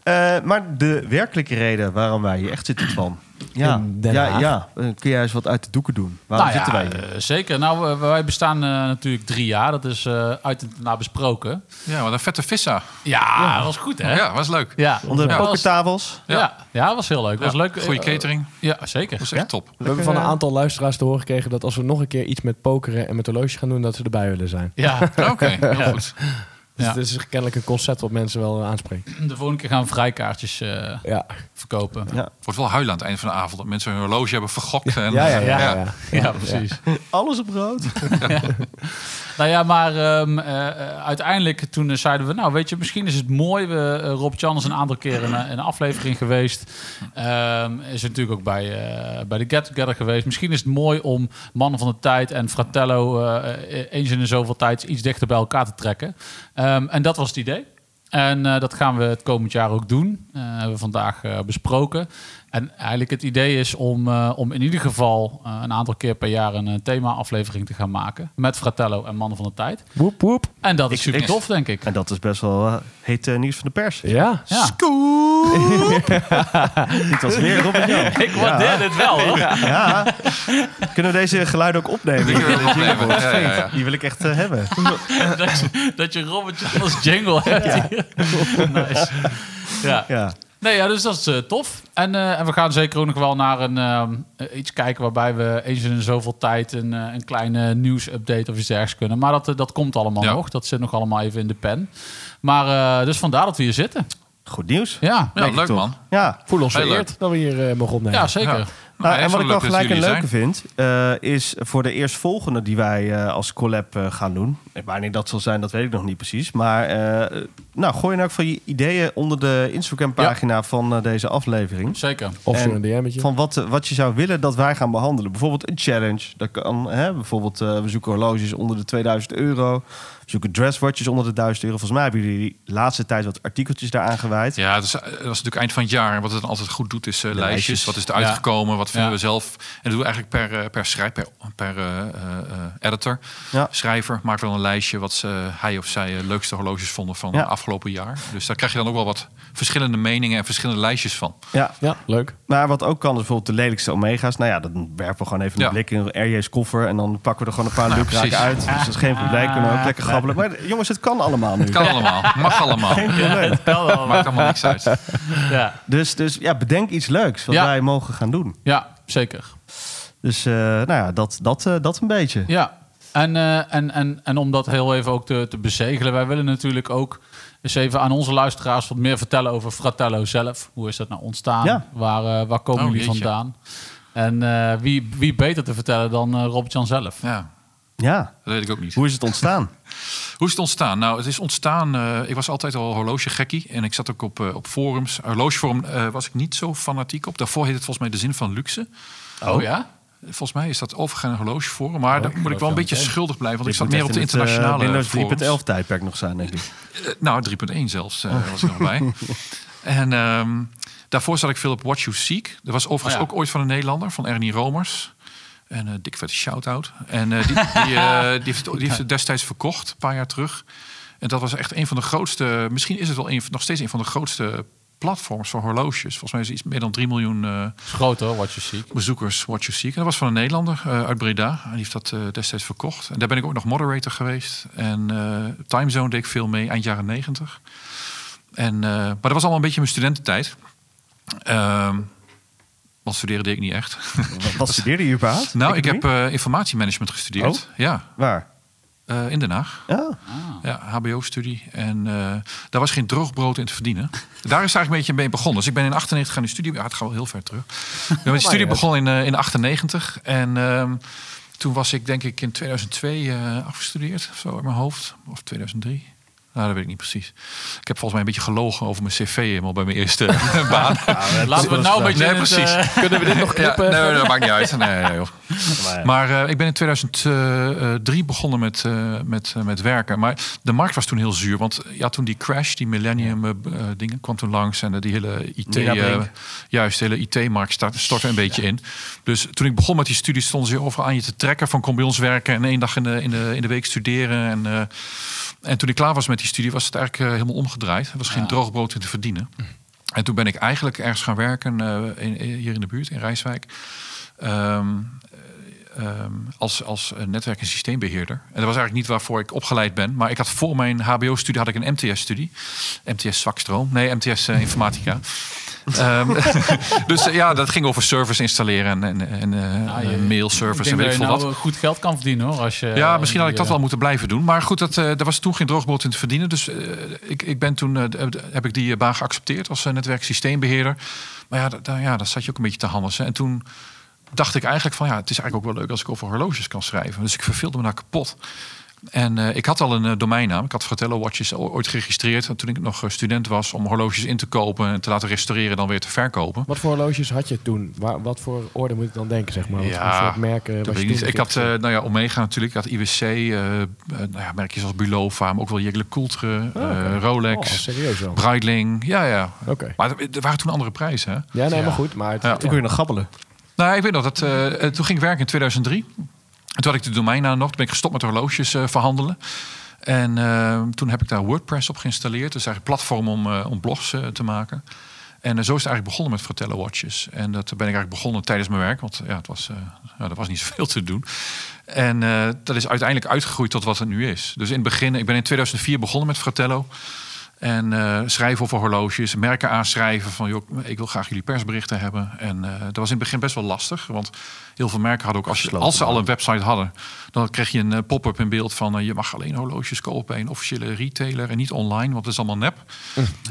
Speaker 4: Eh, maar de werkelijke reden waarom wij hier echt zitten, van. Ja,
Speaker 5: In Den
Speaker 4: ja,
Speaker 5: Haag.
Speaker 4: ja. Eh, kun jij eens wat uit de doeken doen? Waarom
Speaker 6: Nou ja,
Speaker 4: zitten wij hier?
Speaker 6: eh, zeker. Nou, eh, wij bestaan eh, natuurlijk drie jaar. Dat is eh, uit en na besproken.
Speaker 7: Ja, wat een vette vissa.
Speaker 6: Ja, dat was goed, hè?
Speaker 7: Ja, was leuk.
Speaker 6: Ja,
Speaker 4: Onder de
Speaker 6: Ja, was,
Speaker 4: pokertafels.
Speaker 6: ja. Ja, dat was heel leuk. Dat was leuk.
Speaker 7: Goede
Speaker 6: Eh,
Speaker 7: catering.
Speaker 6: Ja, zeker.
Speaker 7: Was echt top.
Speaker 5: We hebben van een aantal luisteraars te horen gekregen dat als we nog een keer iets met pokeren en met horloge gaan doen, dat ze erbij willen zijn.
Speaker 6: Ja,
Speaker 7: Oké, heel goed.
Speaker 5: Dus
Speaker 6: Ja.
Speaker 5: het is kennelijk een concept wat mensen wel eh, aanspreekt.
Speaker 6: de volgende keer gaan we vrijkaartjes eh,
Speaker 5: Ja,
Speaker 6: verkopen.
Speaker 4: Ja.
Speaker 7: Wordt wel huilen aan het einde van de avond. Dat mensen hun horloge hebben vergokt. En, eh,
Speaker 5: ja, ja. ja,
Speaker 6: ja.
Speaker 5: ja.
Speaker 6: Ja, precies.
Speaker 4: Alles op rood.
Speaker 6: Nou ja, maar ehm, eh, eh, uiteindelijk toen eh, zeiden we, nou weet je, misschien is het mooi. We, eh, Rob Jan is een aantal keren in een, een aflevering geweest. Ehm, is natuurlijk ook bij, eh, bij de Get Together geweest. Misschien is het mooi om Mannen van de Tijd en Fratello eh, eh, eens in de zoveel tijd iets dichter bij elkaar te trekken. Ehm, en dat was het idee. En eh, dat gaan we het komend jaar ook doen. Eh hebben we vandaag eh, besproken. En eigenlijk het idee is om, eh, om in ieder geval eh, een aantal keer per jaar een eh, thema-aflevering te gaan maken. Met Fratello en Mannen van de Tijd.
Speaker 5: Woep, woep.
Speaker 6: En dat is
Speaker 4: Ik-
Speaker 6: super
Speaker 4: ik-
Speaker 6: tof, denk ik.
Speaker 4: En dat is best wel eh, heet eh, nieuws van de pers.
Speaker 5: Ja.
Speaker 6: Ja.
Speaker 4: Dit was weer Robert Jan.
Speaker 6: Ik waardeer dit wel, hoor.
Speaker 4: Ja. Kunnen we deze geluiden ook opnemen?
Speaker 7: Die kunnen we opnemen. Ja, ja, ja.
Speaker 4: Die wil ik echt eh, hebben.
Speaker 6: Dat, je- dat je Robert Jan als jingle hebt. hier. Nice. Ja.
Speaker 4: Ja.
Speaker 6: Nee, ja, dus dat is eh, tof. En, eh, en we gaan zeker ook nog wel naar een, ehm, eh, iets kijken waarbij we eens in zoveel tijd een, eh, een kleine nieuwsupdate of iets dergelijks kunnen. Maar dat, eh, dat komt allemaal
Speaker 7: Ja.
Speaker 6: nog. Dat zit nog allemaal even in de pen. Maar eh, dus vandaar dat we hier zitten.
Speaker 4: Goed nieuws.
Speaker 6: Ja,
Speaker 7: Ja, leuk
Speaker 4: toch?
Speaker 7: man.
Speaker 4: Ja.
Speaker 5: Voel ons
Speaker 7: Heel
Speaker 5: vereerd dat we hier eh, mogen opnemen.
Speaker 6: ja zeker.
Speaker 7: Ja.
Speaker 4: Nou,
Speaker 7: Nou,
Speaker 4: en wat
Speaker 7: zo
Speaker 4: ik dan
Speaker 7: leuk dat
Speaker 4: gelijk een
Speaker 7: jullie
Speaker 4: leuke
Speaker 7: zijn.
Speaker 4: vind, eh, is voor de eerstvolgende die wij eh, als collab eh, gaan doen. En Wanneer dat zal zijn, dat weet ik nog niet precies. Maar eh, nou, gooi nou ook van je ideeën onder de Instagram-pagina van eh, deze aflevering.
Speaker 6: Zeker.
Speaker 5: Of
Speaker 4: En
Speaker 5: zo'n DM'tje.
Speaker 4: Van wat, eh, wat je zou willen dat wij gaan behandelen. Bijvoorbeeld een challenge. Dat kan, hè, bijvoorbeeld, eh, we zoeken horloges onder de 2000 euro. We zoeken dresswatches onder de 1000 euro. Volgens mij hebben jullie de laatste tijd wat artikeltjes daaraan gewijd.
Speaker 7: Ja, dus, eh, dat is natuurlijk eind van het jaar. En Wat het dan altijd goed doet, is eh, lijstjes.
Speaker 4: lijstjes.
Speaker 7: Wat is er
Speaker 6: Ja.
Speaker 7: uitgekomen? Wat vinden
Speaker 6: Ja.
Speaker 7: we zelf? En dat doen we eigenlijk per, eh, per, schrijf, per, per eh, eh, eh, editor.
Speaker 4: Ja.
Speaker 7: Schrijver maakt dan een lijstje wat ze, eh, hij of zij eh, leukste horloges vonden van
Speaker 4: Ja.
Speaker 7: het afgelopen jaar. Dus daar krijg je dan ook wel wat verschillende meningen en verschillende lijstjes van.
Speaker 4: Ja,
Speaker 5: Ja, leuk.
Speaker 4: Maar Nou, wat ook kan is bijvoorbeeld de lelijkste Omega's. Nou ja, dan werpen we gewoon even een
Speaker 7: Ja.
Speaker 4: blik in RJ's koffer. En dan pakken we er gewoon een paar
Speaker 7: Nou,
Speaker 4: lukraken
Speaker 7: precies.
Speaker 4: uit. Dus dat is geen probleem. Kunnen we ook lekker grabbelen. Maar jongens, het kan allemaal nu.
Speaker 7: Kan allemaal. Mag allemaal.
Speaker 6: Het kan wel.
Speaker 7: Maakt allemaal niks uit.
Speaker 6: Ja.
Speaker 4: Dus, dus ja, bedenk iets leuks wat
Speaker 6: Ja.
Speaker 4: wij mogen gaan doen.
Speaker 6: ja, zeker.
Speaker 4: Dus eh, nou ja, dat, dat, eh, dat een beetje.
Speaker 6: Ja, en, eh, en, en, en om dat heel even ook te, te bezegelen, wij willen natuurlijk ook eens even aan onze luisteraars wat meer vertellen over Fratello zelf. Hoe is dat nou ontstaan?
Speaker 4: Ja.
Speaker 6: Waar, eh, waar komen
Speaker 7: Oh,
Speaker 6: jullie
Speaker 7: jeetje.
Speaker 6: vandaan? En eh, wie, wie beter te vertellen dan eh Robert-Jan zelf?
Speaker 7: Ja,
Speaker 4: Ja.
Speaker 7: dat weet ik ook niet.
Speaker 4: Hoe is het ontstaan?
Speaker 7: Hoe is het ontstaan? Nou, het is ontstaan. eh, ik was altijd al horlogegekkie. En ik zat ook op, eh, op forums. Horlogeforum eh, was ik niet zo fanatiek op. Daarvoor heet het volgens mij de zin van luxe.
Speaker 6: Oh, ja?
Speaker 7: Volgens mij is dat overgegaan een horlogeforum.
Speaker 4: Oh,
Speaker 7: Maar daar moet ik wel een
Speaker 6: dat
Speaker 7: beetje
Speaker 6: niet, hè?
Speaker 7: schuldig blijven. Want
Speaker 4: Dit
Speaker 7: ik zat
Speaker 4: moet
Speaker 7: meer
Speaker 4: echt
Speaker 7: op de
Speaker 4: in het, eh,
Speaker 7: internationale
Speaker 4: Windows
Speaker 7: forums.
Speaker 4: 3.11 tijdperk nog zijn, denk ik.
Speaker 7: Eh, nou, 3.1 zelfs eh, was er nog bij. En ehm, daarvoor zat ik veel op What You Seek. Dat was overigens
Speaker 6: Oh ja.
Speaker 7: ook ooit van een Nederlander, van Ernie Romers. En eh dik vette shout-out. En eh, die, die, eh, die, heeft, het- die heeft het destijds verkocht, een paar jaar terug. En dat was echt een van de grootste... Misschien is het wel een, nog steeds een van de grootste platforms voor horloges. Volgens mij is het iets meer dan 3 miljoen... eh,
Speaker 6: Dat is groot hoor, wat je ziet.
Speaker 7: bezoekers What You Seek. En dat was van een Nederlander eh, uit Breda. En die heeft dat eh, destijds verkocht. En daar ben ik ook nog moderator geweest. En eh Timezone deed ik veel mee, eind jaren negentig. En, eh, maar dat was allemaal een beetje mijn studententijd. Ehm want studeren deed ik niet echt.
Speaker 4: Wat, wat studeerde je überhaupt?
Speaker 7: nou, ik heb
Speaker 4: Economie?
Speaker 7: eh, informatiemanagement gestudeerd. Ja,
Speaker 4: Waar?
Speaker 7: eh, in Den Haag.
Speaker 4: Ja.
Speaker 7: Ja, HBO-studie. En eh, daar was geen droogbrood in te verdienen. Daar is het eigenlijk een beetje mee begonnen. Dus ik ben in 98 gaan die studie. Ja, het gaat wel heel ver terug. Ik ben met die studie begonnen in, eh, in 98. En ehm, toen was ik, denk ik, in 2002 eh, afgestudeerd. Of zo uit mijn hoofd. Of 2003. Nou, dat weet ik niet precies. Ik heb volgens mij een beetje gelogen over mijn cv helemaal bij mijn eerste baan.
Speaker 6: Laten we het nou een beetje...
Speaker 7: Nee,
Speaker 6: in het,
Speaker 7: precies.
Speaker 6: eh,
Speaker 7: Kunnen we dit nog
Speaker 5: knippen?
Speaker 7: nee, dat maakt niet uit. Nee, nee, joh.
Speaker 4: Maar, ja.
Speaker 7: Maar eh, ik ben in 2003 begonnen met, eh, met, eh, met werken. Maar de markt was toen heel zuur. Want eh, ja, toen die crash, die millennium eh, b- eh, dingen kwam toen langs. En eh, die hele IT,
Speaker 4: Nina
Speaker 7: eh,
Speaker 4: Brink.
Speaker 7: juist, de hele IT-markt start- stortte een beetje in. Dus toen ik begon met die studie stonden ze overal aan je te trekken. Van kom bij ons werken en één dag in de, in de, in de week studeren. En, eh, en toen ik klaar was met die studie was het eigenlijk eh, helemaal omgedraaid. Er was geen droog brood in te verdienen.
Speaker 6: Hm.
Speaker 7: En toen ben ik eigenlijk ergens gaan werken eh, in- in- hier in de buurt, in Rijswijk. Ehm, ehm, als, als eh, netwerk- en systeembeheerder. En dat was eigenlijk niet waarvoor ik opgeleid ben. Maar ik had voor mijn HBO-studie had ik een MTS-studie. MTS Zwakstroom. Nee, MTS eh, Informatica. Ehm, dus eh, ja, dat ging over servers installeren en, en, en eh,
Speaker 6: Ah, je- Ik
Speaker 7: mailservers en
Speaker 6: denk
Speaker 7: weet ik
Speaker 6: dat je
Speaker 7: veel
Speaker 6: nou
Speaker 7: wat.
Speaker 6: eh, goed geld kan verdienen hoor. Als je,
Speaker 7: Ja, misschien had ik dat
Speaker 6: eh,
Speaker 7: wel moeten blijven doen. Maar goed, dat, eh er was toen geen droogboot in te verdienen. Dus eh, ik, ik ben toen, eh, d- d- heb ik die eh, baan geaccepteerd als eh, netwerksysteembeheerder. Maar ja, dat- daar- ja, daar zat je ook een beetje te handelsen. En toen dacht ik eigenlijk van ja, het is eigenlijk ook wel leuk als ik over horloges kan schrijven. Dus ik verveelde me daar kapot. En eh, ik had al een eh, domeinnaam. Ik had Fratello Watches o- ooit geregistreerd. Toen ik nog eh, student was om horloges in te kopen en te laten restaureren en dan weer te verkopen.
Speaker 5: Wat voor horloges had je toen? Waar, wat voor orde moet ik dan denken, zeg maar? Wat
Speaker 7: Ja,
Speaker 5: voor soort merken?
Speaker 7: Dat
Speaker 5: was
Speaker 7: weet
Speaker 5: je
Speaker 7: ik niet.
Speaker 5: toen
Speaker 7: Ik had eh,
Speaker 5: natuurlijk?
Speaker 7: nou ja, Omega natuurlijk, ik had IWC, eh, eh, nou ja, merkjes als Bulova, maar ook wel Jegle Coultre, eh,
Speaker 5: Ah, Oh,
Speaker 7: Rolex,
Speaker 5: serieus wel.
Speaker 7: Breitling. Ja, ja.
Speaker 5: Oké.
Speaker 7: Maar er- er waren toen andere prijzen. Hè?
Speaker 5: Ja, nee,
Speaker 6: Ja.
Speaker 5: maar goed. Maar het,
Speaker 7: Ja.
Speaker 4: Toen kun je nog gabbelen.
Speaker 7: Nou, ik weet nog dat. eh, eh, toen ging ik werken in 2003. En toen had ik de domeinnaam nog. Toen ben ik gestopt met horloges eh, verhandelen. En eh, toen heb ik daar WordPress op geïnstalleerd. Dus eigenlijk een platform om, eh, om blogs eh, te maken. En eh, zo is het eigenlijk begonnen met Fratello Watches. En dat ben ik eigenlijk begonnen tijdens mijn werk. Want ja, het was, eh nou, er was niet zoveel te doen. En eh, dat is uiteindelijk uitgegroeid tot wat het nu is. Dus in het begin, ik ben in 2004 begonnen met Fratello. En eh, schrijven over horloges, merken aanschrijven van joh, ik wil graag jullie persberichten hebben. En eh, dat was in het begin best wel lastig, want heel veel merken hadden ook, als, je- als ze al een website hadden, dan kreeg je een eh, pop-up in beeld van eh, je mag alleen horloges kopen bij een officiële retailer en niet online, want dat is allemaal nep.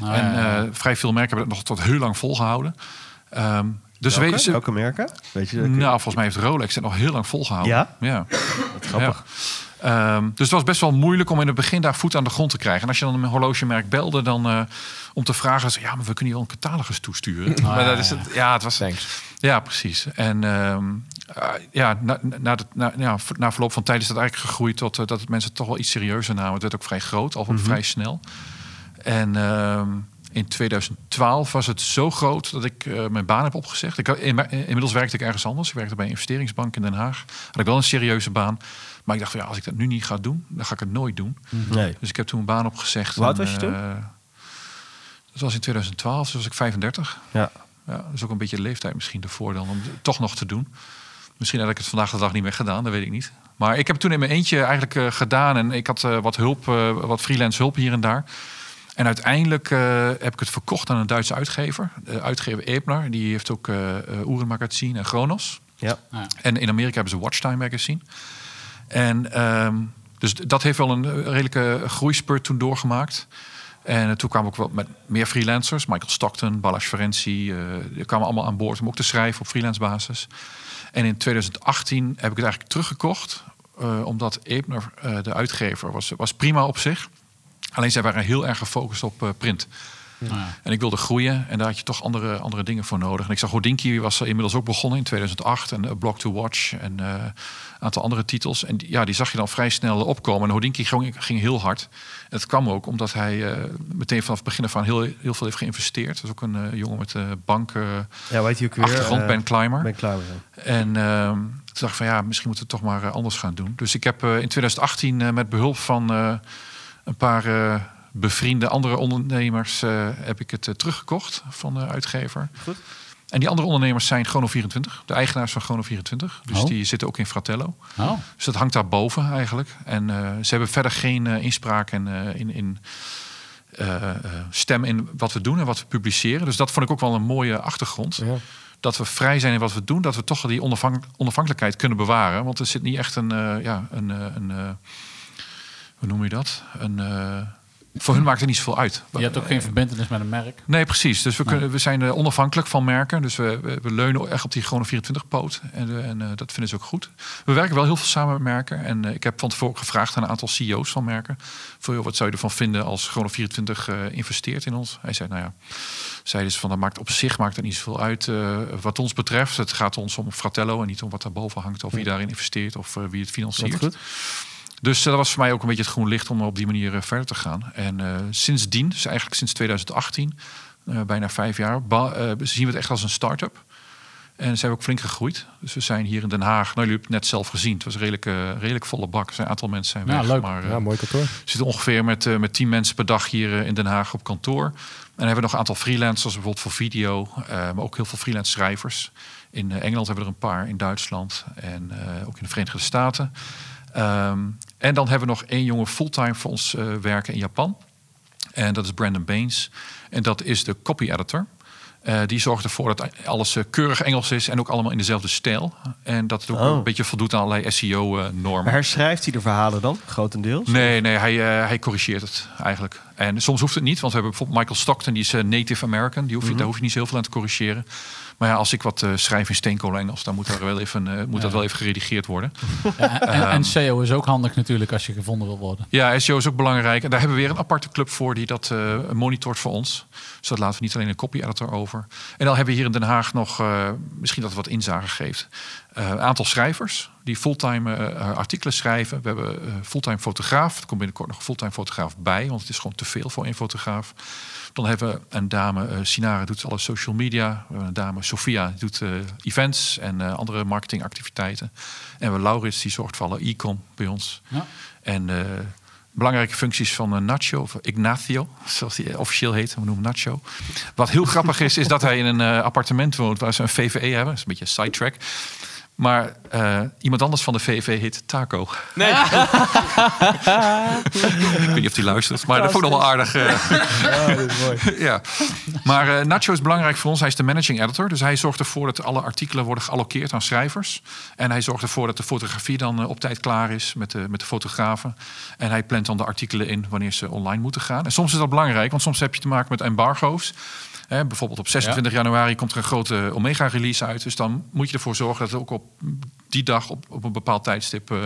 Speaker 6: Ah,
Speaker 7: en
Speaker 6: ja.
Speaker 7: eh, vrij veel merken hebben dat nog tot heel lang volgehouden. Ehm, dus
Speaker 4: Welke?
Speaker 7: weet ze,
Speaker 4: Welke merken? Weet je,
Speaker 7: nou, volgens mij heeft Rolex het nog heel lang volgehouden.
Speaker 4: Ja?
Speaker 7: ja.
Speaker 4: dat grappig.
Speaker 7: Ja. Ehm, dus het was best wel moeilijk om in het begin daar voet aan de grond te krijgen. En als je dan een horlogemerk belde, dan eh, om te vragen: ze, ja, maar we kunnen je wel een catalogus toesturen.
Speaker 4: Ah,
Speaker 7: maar dat is het, ja, het was.
Speaker 5: Thanks.
Speaker 7: Ja, precies. En ehm, eh, ja, na, na, de- na, ja, v- na verloop van tijd is dat eigenlijk gegroeid tot eh, dat het mensen het toch wel iets serieuzer namen. Het werd ook vrij groot, al
Speaker 4: Mhm.
Speaker 7: vrij snel. En ehm, in 2012 was het zo groot dat ik eh, mijn baan heb opgezegd. Ik, had- in, in- inmiddels werkte ik ergens anders. Ik werkte bij een investeringsbank in Den Haag. Had ik wel een serieuze baan. Maar ik dacht van ja, als ik dat nu niet ga doen, dan ga ik het nooit doen.
Speaker 4: Nee.
Speaker 7: Dus ik heb toen een baan opgezegd.
Speaker 4: Hoe oud
Speaker 7: En,
Speaker 4: was je toen?
Speaker 7: eh, dat was in 2012, dus was ik 35.
Speaker 4: Ja.
Speaker 7: Ja, dat is ook een beetje de leeftijd misschien ervoor dan om het toch nog te doen. Misschien had ik het vandaag de dag niet meer gedaan, dat weet ik niet. Maar ik heb toen in mijn eentje eigenlijk eh, gedaan en ik had eh, wat hulp, eh, wat freelance hulp hier en daar. En uiteindelijk eh, heb ik het verkocht aan een Duitse uitgever, Eh, uitgever Ebner. Die heeft ook eh eh, Oeren Magazine en Chronos.
Speaker 4: Ja.
Speaker 7: En in Amerika hebben ze Watchtime Magazine. En ehm, dus d- dat heeft wel een eh, redelijke groeispurt toen doorgemaakt. En eh, toen kwamen ook wel met meer freelancers. Michael Stockton, Balash Ferenczi. eh, die kwamen allemaal aan boord om ook te schrijven op freelance basis. En in 2018 heb ik het eigenlijk teruggekocht. eh, omdat Ebner, eh, de uitgever, was, was prima op zich. Alleen zij waren heel erg gefocust op eh, print. En ik wilde groeien en daar had je toch andere, andere dingen voor nodig. En ik zag Hodinky was er inmiddels ook begonnen in 2008. En eh, Block to Watch en eh, een aantal andere titels. En die, ja, die zag je dan vrij snel opkomen. En Hodinky ging, ging heel hard. En dat kwam ook omdat hij eh, meteen vanaf het begin af aan heel, heel veel heeft geïnvesteerd. Dat is ook een eh, jongen met eh bank, eh,
Speaker 4: Ja, weet je ook weer?
Speaker 7: achtergrond,
Speaker 4: eh,
Speaker 7: Ben Clymer.
Speaker 4: Ben Clymer, ja.
Speaker 7: En ehm, toen dacht ik van ja, misschien moeten we het toch maar eh, anders gaan doen. Dus ik heb eh, in 2018 eh, met behulp van eh, een paar eh, bevriende andere ondernemers... eh, heb ik het eh, teruggekocht van de uitgever.
Speaker 4: Goed.
Speaker 7: En die andere ondernemers zijn Chrono24, de eigenaars van Chrono24. Dus
Speaker 6: Oh.
Speaker 7: die zitten ook in Fratello.
Speaker 6: Oh,
Speaker 7: Dus dat hangt daarboven eigenlijk. En eh, ze hebben verder geen eh, inspraak en, eh, in, in eh, eh, stem in wat we doen en wat we publiceren. Dus dat vond ik ook wel een mooie achtergrond
Speaker 5: Ja.
Speaker 7: dat we vrij zijn in wat we doen, dat we toch die onafhank- onafhankelijkheid kunnen bewaren. Want er zit niet echt een, eh, ja, een, eh, een eh, hoe noem je dat? Een, eh, Voor hun maakt het niet zoveel uit.
Speaker 6: Je hebt ook geen verbindenis met een merk.
Speaker 7: Nee, precies. Dus we, kunnen, we zijn eh, onafhankelijk van merken. Dus we, we, we leunen echt op die gewone 24-poot. En, eh, en eh, dat vinden ze ook goed. We werken wel heel veel samen met merken. En eh, ik heb van tevoren ook gevraagd aan een aantal CEO's van merken. Voor, joh, wat zou je ervan vinden als gewone 24 eh, investeert in ons? Hij zei, nou ja, zeiden ze van dat maakt op zich maakt het niet zoveel uit. eh, wat ons betreft, het gaat ons om Fratello en niet om wat daarboven hangt. Of wie daarin investeert of eh, wie het
Speaker 4: Dat
Speaker 7: financiert.
Speaker 4: goed.
Speaker 7: Dus eh, dat was voor mij ook een beetje het groen licht om op die manier eh, verder te gaan. En eh, sindsdien, dus eigenlijk sinds 2018, eh, bijna vijf jaar, ba- eh, zien we het echt als een start-up. En zijn we ook flink gegroeid. Dus we zijn hier in Den Haag, nou jullie hebben het net zelf gezien, het was een redelijk, eh, redelijk volle bak. Er zijn een aantal mensen zijn
Speaker 6: Ja,
Speaker 7: weg,
Speaker 6: leuk.
Speaker 7: maar eh,
Speaker 5: Ja, mooi kantoor.
Speaker 7: we zitten ongeveer met, eh, met 10 mensen per dag hier eh, in Den Haag op kantoor. En dan hebben we nog een aantal freelancers, bijvoorbeeld voor video, eh, maar ook heel veel freelance schrijvers. In eh, Engeland hebben we er een paar, in Duitsland en eh, ook in de Verenigde Staten. Ehm, en dan hebben we nog één jongen fulltime voor ons eh, werken in Japan. En dat is Brandon Baines. En dat is de copy editor. Eh, die zorgt ervoor dat alles eh, keurig Engels is en ook allemaal in dezelfde stijl. En dat het ook
Speaker 4: Oh.
Speaker 7: een beetje voldoet aan allerlei E SEO-normen.
Speaker 4: Maar herschrijft hij de verhalen dan, grotendeels?
Speaker 7: Nee, nee hij, eh, hij corrigeert het eigenlijk. En soms hoeft het niet, want we hebben bijvoorbeeld Michael Stockton, die is eh, Native American. Die hoef je, Daar hoef je niet zo heel veel aan te corrigeren. Maar ja, als ik wat eh, schrijf in steenkool Engels, dan moet, daar wel even, eh, moet dat wel even geredigeerd worden.
Speaker 6: Ja, en, en SEO is ook handig natuurlijk als je gevonden wil worden.
Speaker 7: Ja, SEO is ook belangrijk. En daar hebben we weer een aparte club voor die dat eh, monitort voor ons. Dus dat laten we niet alleen een copy editor over. En dan hebben we hier in Den Haag nog, eh, misschien dat het wat inzage geeft, eh, een aantal schrijvers die fulltime eh, artikelen schrijven. We hebben eh, fulltime fotograaf. Er komt binnenkort nog een fulltime fotograaf bij, want het is gewoon te veel voor één fotograaf. Dan hebben we een dame, eh Sinara doet alle social media. We hebben een dame, Sofia, die doet eh, events en eh, andere marketingactiviteiten. En we hebben Laurits, die zorgt voor alle e-com bij ons.
Speaker 6: Ja.
Speaker 7: En eh, belangrijke functies van eh, Nacho, of Ignacio, zoals hij officieel heet. We noemen hem Nacho. Wat heel grappig is, is dat hij in een eh, appartement woont waar ze een VVE hebben. Dat is een beetje een sidetrack. Maar eh, iemand anders van de VVE heet Taco.
Speaker 5: Nee.
Speaker 7: Ik weet niet of hij luistert, maar dat vond ik nog wel aardig. eh.
Speaker 5: dat is mooi.
Speaker 7: ja. Maar eh, Nacho is belangrijk voor ons. Hij is de managing editor. Dus hij zorgt ervoor dat alle artikelen worden geallockeerd aan schrijvers. En hij zorgt ervoor dat de fotografie dan eh, op tijd klaar is met de, met de fotografen. En hij plant dan de artikelen in wanneer ze online moeten gaan. En soms is dat belangrijk, want soms heb je te maken met embargo's. Hè, bijvoorbeeld op 26 januari komt er een grote Omega-release uit. Dus dan moet je ervoor zorgen dat het ook op die dag op, op een bepaald tijdstip eh,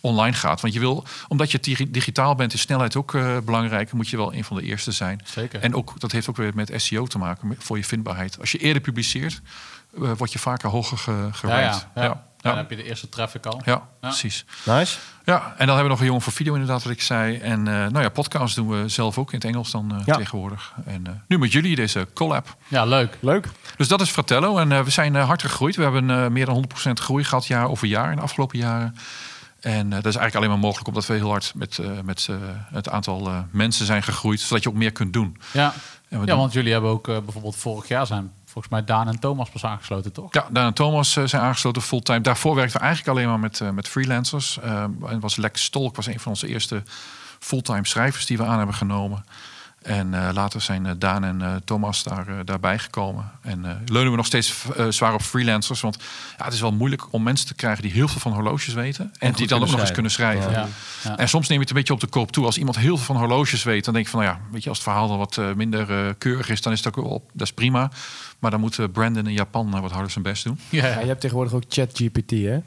Speaker 7: online gaat. Want je wil, omdat je digi- digitaal bent, is snelheid ook eh, belangrijk. Moet je wel een van de eerste zijn.
Speaker 6: Zeker.
Speaker 7: En ook, dat heeft ook weer met SEO te maken, met- voor je vindbaarheid. Als je eerder publiceert, eh, word je vaker hoger ge,
Speaker 6: Ja, ja,
Speaker 7: gerankt.
Speaker 6: ja.
Speaker 7: ja.
Speaker 6: Dan heb je de eerste traffic al.
Speaker 7: Ja, precies.
Speaker 4: Nice.
Speaker 7: Ja, en dan hebben we nog een jongen voor video inderdaad, wat ik zei. En eh, nou ja, podcast doen we zelf ook in het Engels dan eh,
Speaker 4: Ja.
Speaker 7: tegenwoordig. En eh, nu met jullie deze collab.
Speaker 6: Ja, leuk.
Speaker 5: Leuk.
Speaker 7: Dus dat is Fratello. En eh, we zijn eh, hard gegroeid. We hebben eh, meer dan 100% groei gehad jaar over jaar in de afgelopen jaren. En eh, dat is eigenlijk alleen maar mogelijk omdat we heel hard met, eh, met eh, het aantal eh, mensen zijn gegroeid. Zodat je ook meer kunt doen.
Speaker 6: Ja,
Speaker 7: En we
Speaker 6: ja
Speaker 7: doen-
Speaker 6: want jullie hebben ook eh, bijvoorbeeld vorig jaar zijn volgens mij Daan en Thomas pas aangesloten, toch?
Speaker 7: Ja, Daan en Thomas eh, zijn aangesloten fulltime. Daarvoor werkten we eigenlijk alleen maar met, eh, met freelancers. Eh, en was Lex Stolk was een van onze eerste fulltime schrijvers die we aan hebben genomen. En eh, later zijn eh, Daan en eh, Thomas daar, eh, daarbij gekomen. En eh, leunen we nog steeds eh, zwaar op freelancers. Want ja, het is wel moeilijk om mensen te krijgen die heel veel van horloges weten. En,
Speaker 4: goed
Speaker 7: die dan ook
Speaker 4: kunnen
Speaker 7: nog eens kunnen schrijven.
Speaker 6: Ja. Ja.
Speaker 7: En soms neem je het een beetje op de koop toe. Als iemand heel veel van horloges weet, dan denk je van, nou ja, weet je, als het verhaal dan wat eh, minder eh, keurig is, dan is dat ook wel, dat is prima. Maar dan moeten Brandon in Japan eh, wat harder zijn best doen.
Speaker 6: Ja,
Speaker 5: Ja,
Speaker 6: ja.
Speaker 5: je hebt tegenwoordig ook ChatGPT, hè?
Speaker 7: Ja,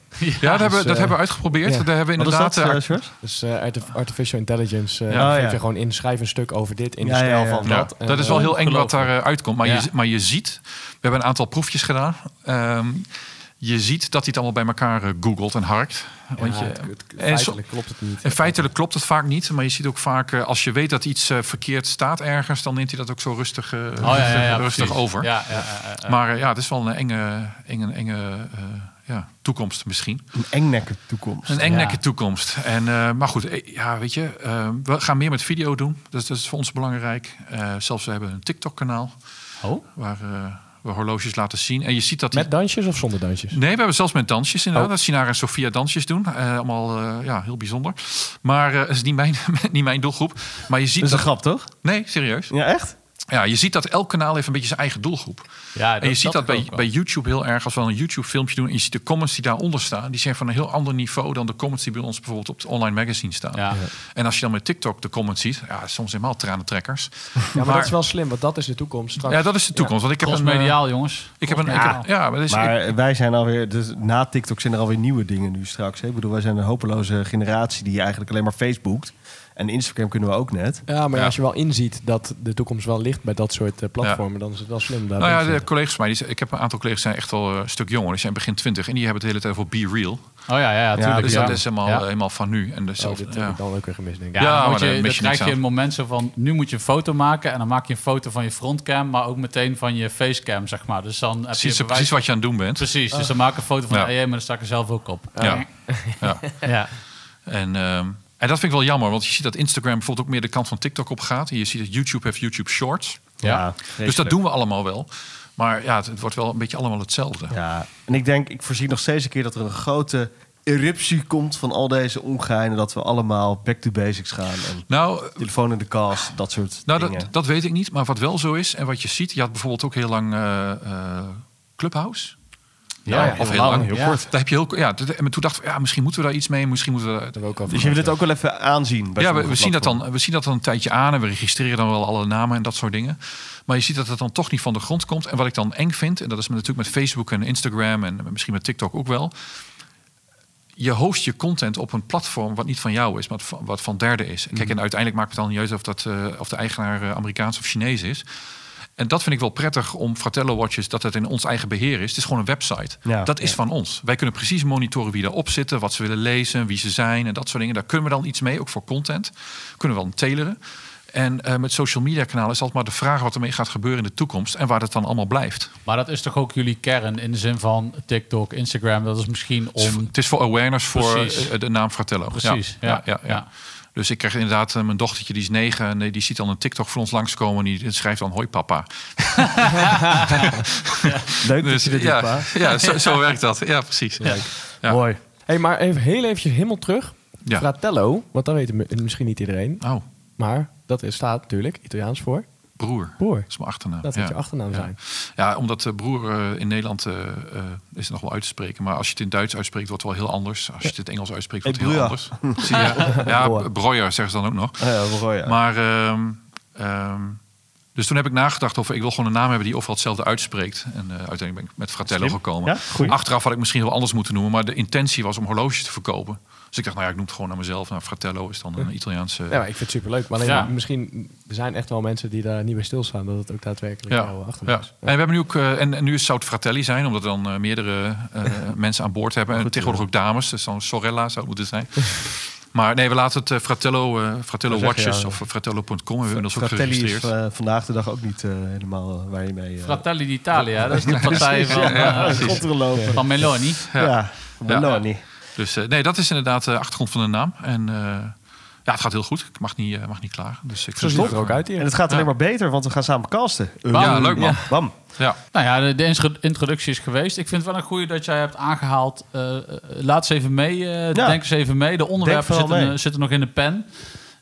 Speaker 7: dat, hebben,
Speaker 5: eh,
Speaker 7: dat hebben we uitgeprobeerd.
Speaker 5: ja.
Speaker 7: Dat hebben we
Speaker 4: Wat is
Speaker 7: inderdaad.
Speaker 4: dat,
Speaker 7: eh,
Speaker 4: eh, Sjors?
Speaker 5: Dus eh, arti- artificial intelligence. eh
Speaker 7: Ja.
Speaker 5: dan
Speaker 4: Oh,
Speaker 5: geef
Speaker 4: ja.
Speaker 5: je gewoon in, schrijf een stuk over dit in de
Speaker 4: Ja, ja,
Speaker 5: stijl
Speaker 4: ja.
Speaker 5: van
Speaker 7: ja,
Speaker 5: dat. En,
Speaker 7: dat is wel
Speaker 5: eh,
Speaker 7: heel eng wat daar
Speaker 6: ongelooflijk.
Speaker 7: eh, uitkomt. Maar,
Speaker 6: Ja.
Speaker 7: je, maar je ziet, we hebben een aantal proefjes gedaan. Ehm, je ziet dat hij het allemaal bij elkaar eh, googelt en harkt. Want
Speaker 5: ja,
Speaker 7: je,
Speaker 5: het- het-
Speaker 7: en zo-
Speaker 5: feitelijk klopt het niet.
Speaker 7: in feitelijk klopt het vaak niet, maar je ziet ook vaak eh, als je weet dat iets eh, verkeerd staat ergens, dan neemt hij dat ook zo rustig, eh,
Speaker 6: Oh, ja, ja, ja,
Speaker 7: rustig
Speaker 6: precies.
Speaker 7: over.
Speaker 6: Ja, ja, ja, ja.
Speaker 7: Maar eh, ja, het is wel een enge, enge, enge eh, ja, toekomst misschien.
Speaker 4: Een engnekker toekomst.
Speaker 6: Dus
Speaker 7: Een engnekke toekomst. En, eh, maar goed, eh, ja, weet je, eh, we gaan meer met video doen. Dus dat is voor ons belangrijk. Eh, zelfs we hebben een TikTok-kanaal
Speaker 6: Oh,
Speaker 7: waar eh, we horloges laten zien. En je ziet dat... die-
Speaker 5: Met dansjes of zonder dansjes?
Speaker 7: Nee, we hebben zelfs met dansjes inderdaad. Dat Sinara en Sofia dansjes doen. Eh, allemaal eh, ja, heel bijzonder. Maar eh, het is niet mijn, niet mijn doelgroep. Maar je ziet
Speaker 4: Dat is een
Speaker 7: dat...
Speaker 4: grap, toch?
Speaker 7: Nee, serieus.
Speaker 4: Ja, echt?
Speaker 7: Ja, je ziet dat elk kanaal heeft een beetje zijn eigen doelgroep.
Speaker 6: Ja,
Speaker 7: en je ziet dat, bij,
Speaker 6: ook wel.
Speaker 7: bij YouTube heel erg. Als we een YouTube filmpje doen en je ziet de comments die daaronder staan... die zijn van een heel ander niveau dan de comments die bij ons bijvoorbeeld op het online magazine staan.
Speaker 6: Ja.
Speaker 7: En als je dan met TikTok de comments ziet, ja, soms helemaal tranentrekkers.
Speaker 5: Ja, maar, dat is wel slim, want dat is de toekomst straks.
Speaker 7: Ja, dat is de toekomst. Want ik heb een... eh,
Speaker 6: Crossmediaal, jongens.
Speaker 7: Ik heb een... Ik heb, ja, maar dat is, ik-
Speaker 4: Maar wij zijn alweer, dus na TikTok zijn er alweer nieuwe dingen nu straks. Hè? Ik bedoel, wij zijn een hopeloze generatie die eigenlijk alleen maar Facebookt. En Instagram kunnen we ook net.
Speaker 5: Ja, maar
Speaker 7: Ja.
Speaker 5: als je wel inziet dat de toekomst wel ligt bij dat soort eh, platformen, dan is het wel slim. Daar
Speaker 7: nou
Speaker 5: in te
Speaker 7: ja, de
Speaker 5: zetten.
Speaker 7: collega's van mij, die, zijn- ik heb een aantal collega's die zijn echt al eh, een stuk jonger. Die zijn begin twintig en die hebben het de hele tijd voor Be Real.
Speaker 6: Oh ja, ja, ja, tuurlijk.
Speaker 7: dus
Speaker 6: ja.
Speaker 7: dat is helemaal,
Speaker 6: Ja.
Speaker 7: eh, helemaal van nu. En dus,
Speaker 5: Oh, dit heb
Speaker 7: ja.
Speaker 5: ik dan ook weer gemist, denk ik.
Speaker 7: Ja,
Speaker 6: Ja, dan,
Speaker 7: maar
Speaker 6: moet
Speaker 7: daar
Speaker 6: je,
Speaker 7: mis
Speaker 6: dan
Speaker 7: je
Speaker 6: krijg
Speaker 7: niks
Speaker 6: je een
Speaker 7: aan.
Speaker 6: moment zo van... nu moet je een foto maken en dan maak je een foto van je frontcam... maar ook meteen van je facecam, zeg maar. Dus dan heb
Speaker 7: Zien
Speaker 6: je
Speaker 7: ze precies wat Ah. je aan het doen bent.
Speaker 6: Precies, dus dan maak ik een foto van...
Speaker 7: Ja.
Speaker 6: hey, maar dan sta ik er zelf ook op.
Speaker 7: Ja. ja.
Speaker 6: Ja.
Speaker 7: En, ehm, en dat vind ik wel jammer, want je ziet dat Instagram bijvoorbeeld ook meer de kant van TikTok op gaat. En je ziet dat YouTube heeft YouTube Shorts.
Speaker 6: Ja.
Speaker 7: Dus dat doen we allemaal wel. Maar ja, het, het wordt wel een beetje allemaal hetzelfde.
Speaker 4: Ja, en ik denk, ik voorzie nog steeds een keer dat er een grote eruptie komt van al deze ongeinen. Dat we allemaal back to basics gaan. En
Speaker 7: Nou,
Speaker 4: telefoon in de kast, dat soort
Speaker 7: nou
Speaker 4: dingen.
Speaker 7: dat, dat weet ik niet. Maar wat wel zo is en wat je ziet, je had bijvoorbeeld ook heel lang eh, eh, Clubhouse. Nou,
Speaker 6: Ja,
Speaker 7: of heel lang, heel
Speaker 6: ja.
Speaker 7: kort. Daar heb je heel, ja, dat- en toen dacht ik, ja, misschien moeten we daar iets mee. Misschien moeten we daar-
Speaker 5: Daar hebben we ook over
Speaker 4: dus je wil
Speaker 5: gehad,
Speaker 4: het ook wel even aanzien. bij
Speaker 7: Ja, we,
Speaker 4: sommige
Speaker 7: we zien dat
Speaker 4: platformen.
Speaker 7: dan, we zien dat dan een tijdje aan en we registreren dan wel alle namen en dat soort dingen. Maar je ziet dat het dan toch niet van de grond komt. En wat ik dan eng vind, en dat is natuurlijk met Facebook en Instagram en misschien met TikTok ook wel. Je host je content op een platform wat niet van jou is, maar van- wat van derden is. Kijk, en uiteindelijk maakt het dan niet uit of, dat, eh, of de eigenaar eh, Amerikaans of Chinees is. En dat vind ik wel prettig om Fratello Watches, dat het in ons eigen beheer is. Het is gewoon een website.
Speaker 4: Ja.
Speaker 7: dat is van ons. Wij kunnen precies monitoren wie erop zitten, wat ze willen lezen, wie ze zijn en dat soort dingen. Daar kunnen we dan iets mee, ook voor content. Kunnen we dan teleren. En eh, met social media kanalen is altijd maar de vraag wat ermee gaat gebeuren in de toekomst en waar dat dan allemaal blijft.
Speaker 6: Maar dat is toch ook jullie kern in de zin van TikTok, Instagram. Dat is misschien
Speaker 7: Het is voor-
Speaker 6: om...
Speaker 7: Het is voor awareness voor
Speaker 6: Precies.
Speaker 7: eh, de naam Fratello.
Speaker 6: Precies, ja, ja.
Speaker 7: Dus ik krijg inderdaad eh, mijn dochtertje, die is negen... en eh, die- die ziet dan een TikTok van ons langskomen... en die schrijft dan hoi papa.
Speaker 4: Leuk dat
Speaker 7: Dus,
Speaker 4: je dit doet,
Speaker 7: ja,
Speaker 4: pa.
Speaker 7: ja zo, zo werkt dat. Ja, precies. Ja.
Speaker 4: Mooi.
Speaker 5: Hey, maar even, heel eventjes helemaal terug.
Speaker 7: Ja.
Speaker 5: Fratello, want dat weet mi- misschien niet iedereen.
Speaker 7: Oh,
Speaker 5: Maar dat is, staat natuurlijk Italiaans voor
Speaker 7: broer.
Speaker 5: boer.
Speaker 7: Dat is mijn achternaam.
Speaker 5: Dat moet je achternaam
Speaker 7: Ja.
Speaker 5: zijn.
Speaker 7: Ja, omdat eh, broer eh, in Nederland eh, eh, is het nog wel uit te spreken. Maar als je het in Duits uitspreekt, wordt het wel heel anders. Als je het in het Engels uitspreekt, wordt het heel
Speaker 4: Hey,
Speaker 7: anders. Zie je? Ja,
Speaker 5: Broer.
Speaker 7: broer zeggen ze dan ook nog.
Speaker 4: Oh ja, we gooien.
Speaker 7: Maar, ehm, ehm, dus toen heb ik nagedacht over, ik wil gewoon een naam hebben die overal hetzelfde uitspreekt. En eh, uiteindelijk ben ik met Fratello
Speaker 4: Slim.
Speaker 7: gekomen.
Speaker 4: Ja, goeie.
Speaker 7: Achteraf had ik misschien heel anders moeten noemen, maar de intentie was om horloges te verkopen. Dus ik dacht, nou ja, ik noem het gewoon naar mezelf. Nou, Fratello is dan een Italiaanse...
Speaker 5: Ja, maar ik vind het superleuk. Maar alleen,
Speaker 6: Ja.
Speaker 5: misschien er zijn echt wel mensen die daar niet bij stilstaan. Dat het ook daadwerkelijk
Speaker 7: Ja.
Speaker 5: jouw achternaam
Speaker 7: ja.
Speaker 5: is.
Speaker 7: En we hebben nu ook, eh, en, en nu is- zou het Fratelli zijn, omdat we dan eh, meerdere eh, mensen aan boord hebben. En tegenwoordig ook dames, dus dan Sorella zou het moeten zijn. maar nee, we laten het eh, Fratello, eh, Fratello
Speaker 4: Wat zeg je,
Speaker 7: Watches
Speaker 4: ja.
Speaker 7: of Fratello.com hebben we inmiddels ook
Speaker 4: Fratelli is
Speaker 7: geregistreerd.
Speaker 4: eh, vandaag de dag ook niet eh, helemaal eh, waar je mee... eh,
Speaker 6: Fratelli d'Italia, dat is de partij van,
Speaker 7: ja,
Speaker 6: eh,
Speaker 7: Ah, precies.
Speaker 4: ronderen lopen.
Speaker 6: van Meloni.
Speaker 4: Ja,
Speaker 7: Ja.
Speaker 4: Meloni.
Speaker 7: Dus eh, nee, dat is inderdaad de achtergrond van de naam. En eh, ja, het gaat heel goed. Ik mag niet, eh, mag niet klagen. Dus ik
Speaker 5: Zo
Speaker 7: vind het
Speaker 5: ziet het er
Speaker 7: leuk.
Speaker 5: ook uit hier.
Speaker 4: En het gaat alleen maar beter, want we gaan samen casten. Ehm,
Speaker 7: Ja, leuk, man.
Speaker 4: Bam.
Speaker 7: Ja.
Speaker 6: Nou ja, de, de intro- introductie is geweest. Ik vind het wel een goede dat jij hebt aangehaald. eh, eh, laat eens even mee. eh,
Speaker 4: Ja.
Speaker 6: Denk eens even mee. De onderwerpen
Speaker 4: Denk vooral
Speaker 6: zitten,
Speaker 4: mee.
Speaker 6: eh, zitten nog in de pen.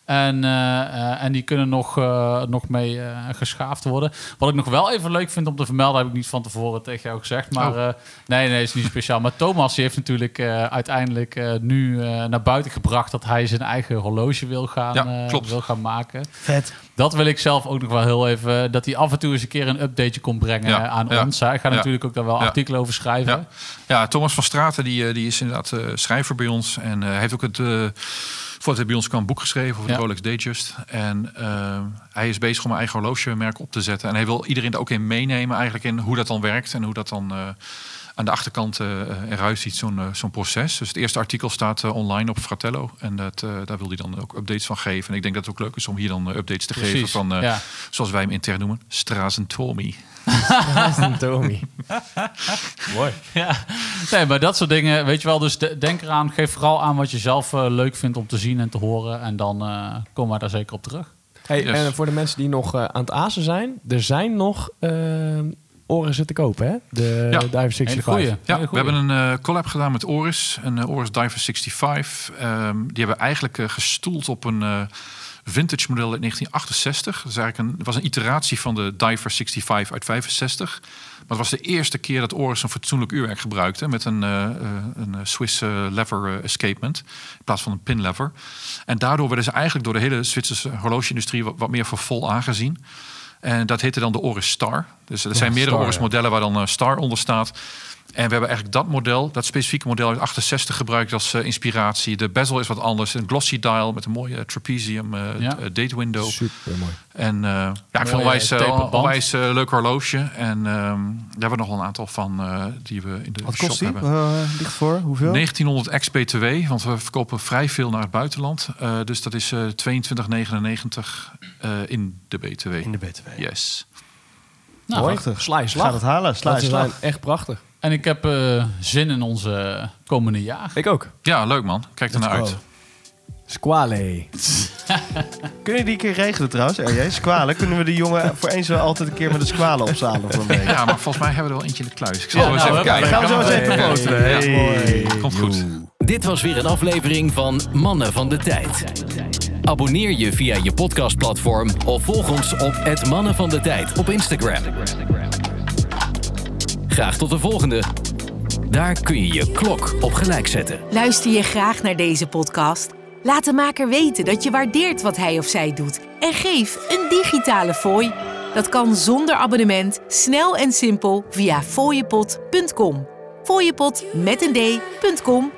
Speaker 6: En, eh, eh, en die kunnen nog, eh, nog mee eh, geschaafd worden. Wat ik nog wel even leuk vind om te vermelden, heb ik niet van tevoren tegen jou gezegd. Maar
Speaker 7: Oh.
Speaker 6: eh, nee, nee, is niet speciaal. Maar Thomas die heeft natuurlijk eh, uiteindelijk eh, nu eh, naar buiten gebracht dat hij zijn eigen horloge wil gaan,
Speaker 7: Ja,
Speaker 6: eh,
Speaker 7: klopt.
Speaker 6: wil gaan maken.
Speaker 4: Vet.
Speaker 6: Dat wil ik zelf ook nog wel heel even. eh, Dat hij af en toe eens een keer een updateje komt brengen
Speaker 7: Ja,
Speaker 6: eh, aan
Speaker 7: ja.
Speaker 6: ons. hè. Ik ga
Speaker 7: Ja.
Speaker 6: natuurlijk ook daar wel
Speaker 7: Ja.
Speaker 6: artikelen over schrijven.
Speaker 7: Ja. ja, Thomas van Straten die, eh, die is inderdaad eh, schrijver bij ons. En eh, hij heeft ook het, eh, voordat hij bij ons kwam, een boek geschreven over de
Speaker 6: Ja.
Speaker 7: Rolex Datejust. En eh, hij is bezig om een eigen horlogemerk op te zetten. En hij wil iedereen er ook in meenemen eigenlijk in hoe dat dan werkt. En hoe dat dan eh, aan de achterkant eh, eruit ziet, zo'n eh, zo'n proces. Dus het eerste artikel staat eh, online op Fratello. En dat, eh, daar wil hij dan ook updates van geven. En ik denk dat het ook leuk is om hier dan eh, updates te
Speaker 6: Precies,
Speaker 7: geven van, eh,
Speaker 6: ja.
Speaker 7: zoals wij hem intern noemen, Strazen Tommy.
Speaker 5: Een Tommy. Mooi.
Speaker 6: Nee, maar dat soort dingen, weet je wel. Dus de- denk eraan, geef vooral aan wat je zelf eh, leuk vindt om te zien en te horen. En dan eh, komen we daar zeker op terug.
Speaker 5: Hey,
Speaker 7: Yes.
Speaker 5: En voor de mensen die nog eh, aan het azen zijn, er zijn nog eh, oren zitten kopen, hè? De
Speaker 7: Ja.
Speaker 5: de Dive
Speaker 6: Hele
Speaker 5: 65.
Speaker 6: goeie.
Speaker 7: Ja,
Speaker 6: Hele
Speaker 7: we
Speaker 6: goeie.
Speaker 7: hebben een eh, collab gedaan met Oris, een eh, Oris Diver 65. Ehm, die hebben eigenlijk eh, gestoeld op een eh, vintage model uit 1968. Dat is eigenlijk een, het was een iteratie van de Diver 65 uit 65. Maar het was de eerste keer dat Oris een fatsoenlijk uurwerk gebruikte... met een, eh, eh, een eh, Swiss eh, lever eh, escapement in plaats van een pin lever. En daardoor werden ze eigenlijk door de hele Zwitserse horloge-industrie... wat, wat meer voor vol aangezien. En dat heette dan de Oris Star. Dus er zijn meerdere
Speaker 5: Star,
Speaker 7: Oris
Speaker 5: ja.
Speaker 7: modellen waar dan eh, Star onder staat. En we hebben eigenlijk dat model, dat specifieke model uit 68 gebruikt als eh, inspiratie. De bezel is wat anders. Een glossy dial met een mooie trapezium eh,
Speaker 6: Ja.
Speaker 7: eh, date window.
Speaker 5: Super mooi.
Speaker 7: En eh, ja, ik vind het onwijs, eh,
Speaker 6: taperband.
Speaker 7: onwijs eh, leuk horloge. En ehm, daar hebben we nog wel een aantal van eh, die we in de
Speaker 4: Wat
Speaker 7: shop
Speaker 4: kost die?
Speaker 7: hebben.
Speaker 4: Eh, ligt voor? Hoeveel?
Speaker 7: 1900 ex-BTW, want we verkopen vrij veel naar het buitenland. Eh, dus dat is eh 22,99 eh, in de BTW.
Speaker 4: In de BTW.
Speaker 7: Yes.
Speaker 6: Nou,
Speaker 5: mooi.
Speaker 4: prachtig.
Speaker 5: Sla je slag.
Speaker 4: Gaat het halen? Sla
Speaker 5: Dat
Speaker 4: je
Speaker 5: is
Speaker 4: slag.
Speaker 5: wel echt prachtig.
Speaker 6: En ik heb eh, zin in onze komende jaar.
Speaker 5: Ik ook.
Speaker 7: Ja, leuk man. Kijk ernaar uit.
Speaker 5: Squale.
Speaker 4: Kunnen jullie die een keer regelen trouwens, RJ? Squalen. Kunnen we de jongen voor eens wel altijd een keer met de squalen opzalen voor een week?
Speaker 7: Ja, maar volgens mij hebben we er wel eentje in de kluis. Ik zal
Speaker 6: Ja,
Speaker 7: wel eens
Speaker 6: nou,
Speaker 7: even
Speaker 6: hup.
Speaker 7: kijken.
Speaker 4: Gaan we zo eens even posteren. Hey.
Speaker 7: Komt goed.
Speaker 2: Dit was weer een aflevering van Mannen van de Tijd. Abonneer je via je podcastplatform of volg ons op het Mannen van de Tijd op Instagram. Graag tot de volgende. Daar kun je je klok op gelijk zetten.
Speaker 1: Luister je graag naar deze podcast? Laat de maker weten dat je waardeert wat hij of zij doet en geef een digitale fooi. Dat kan zonder abonnement, snel en simpel via fooiepot.com. Fooiepot met een d.com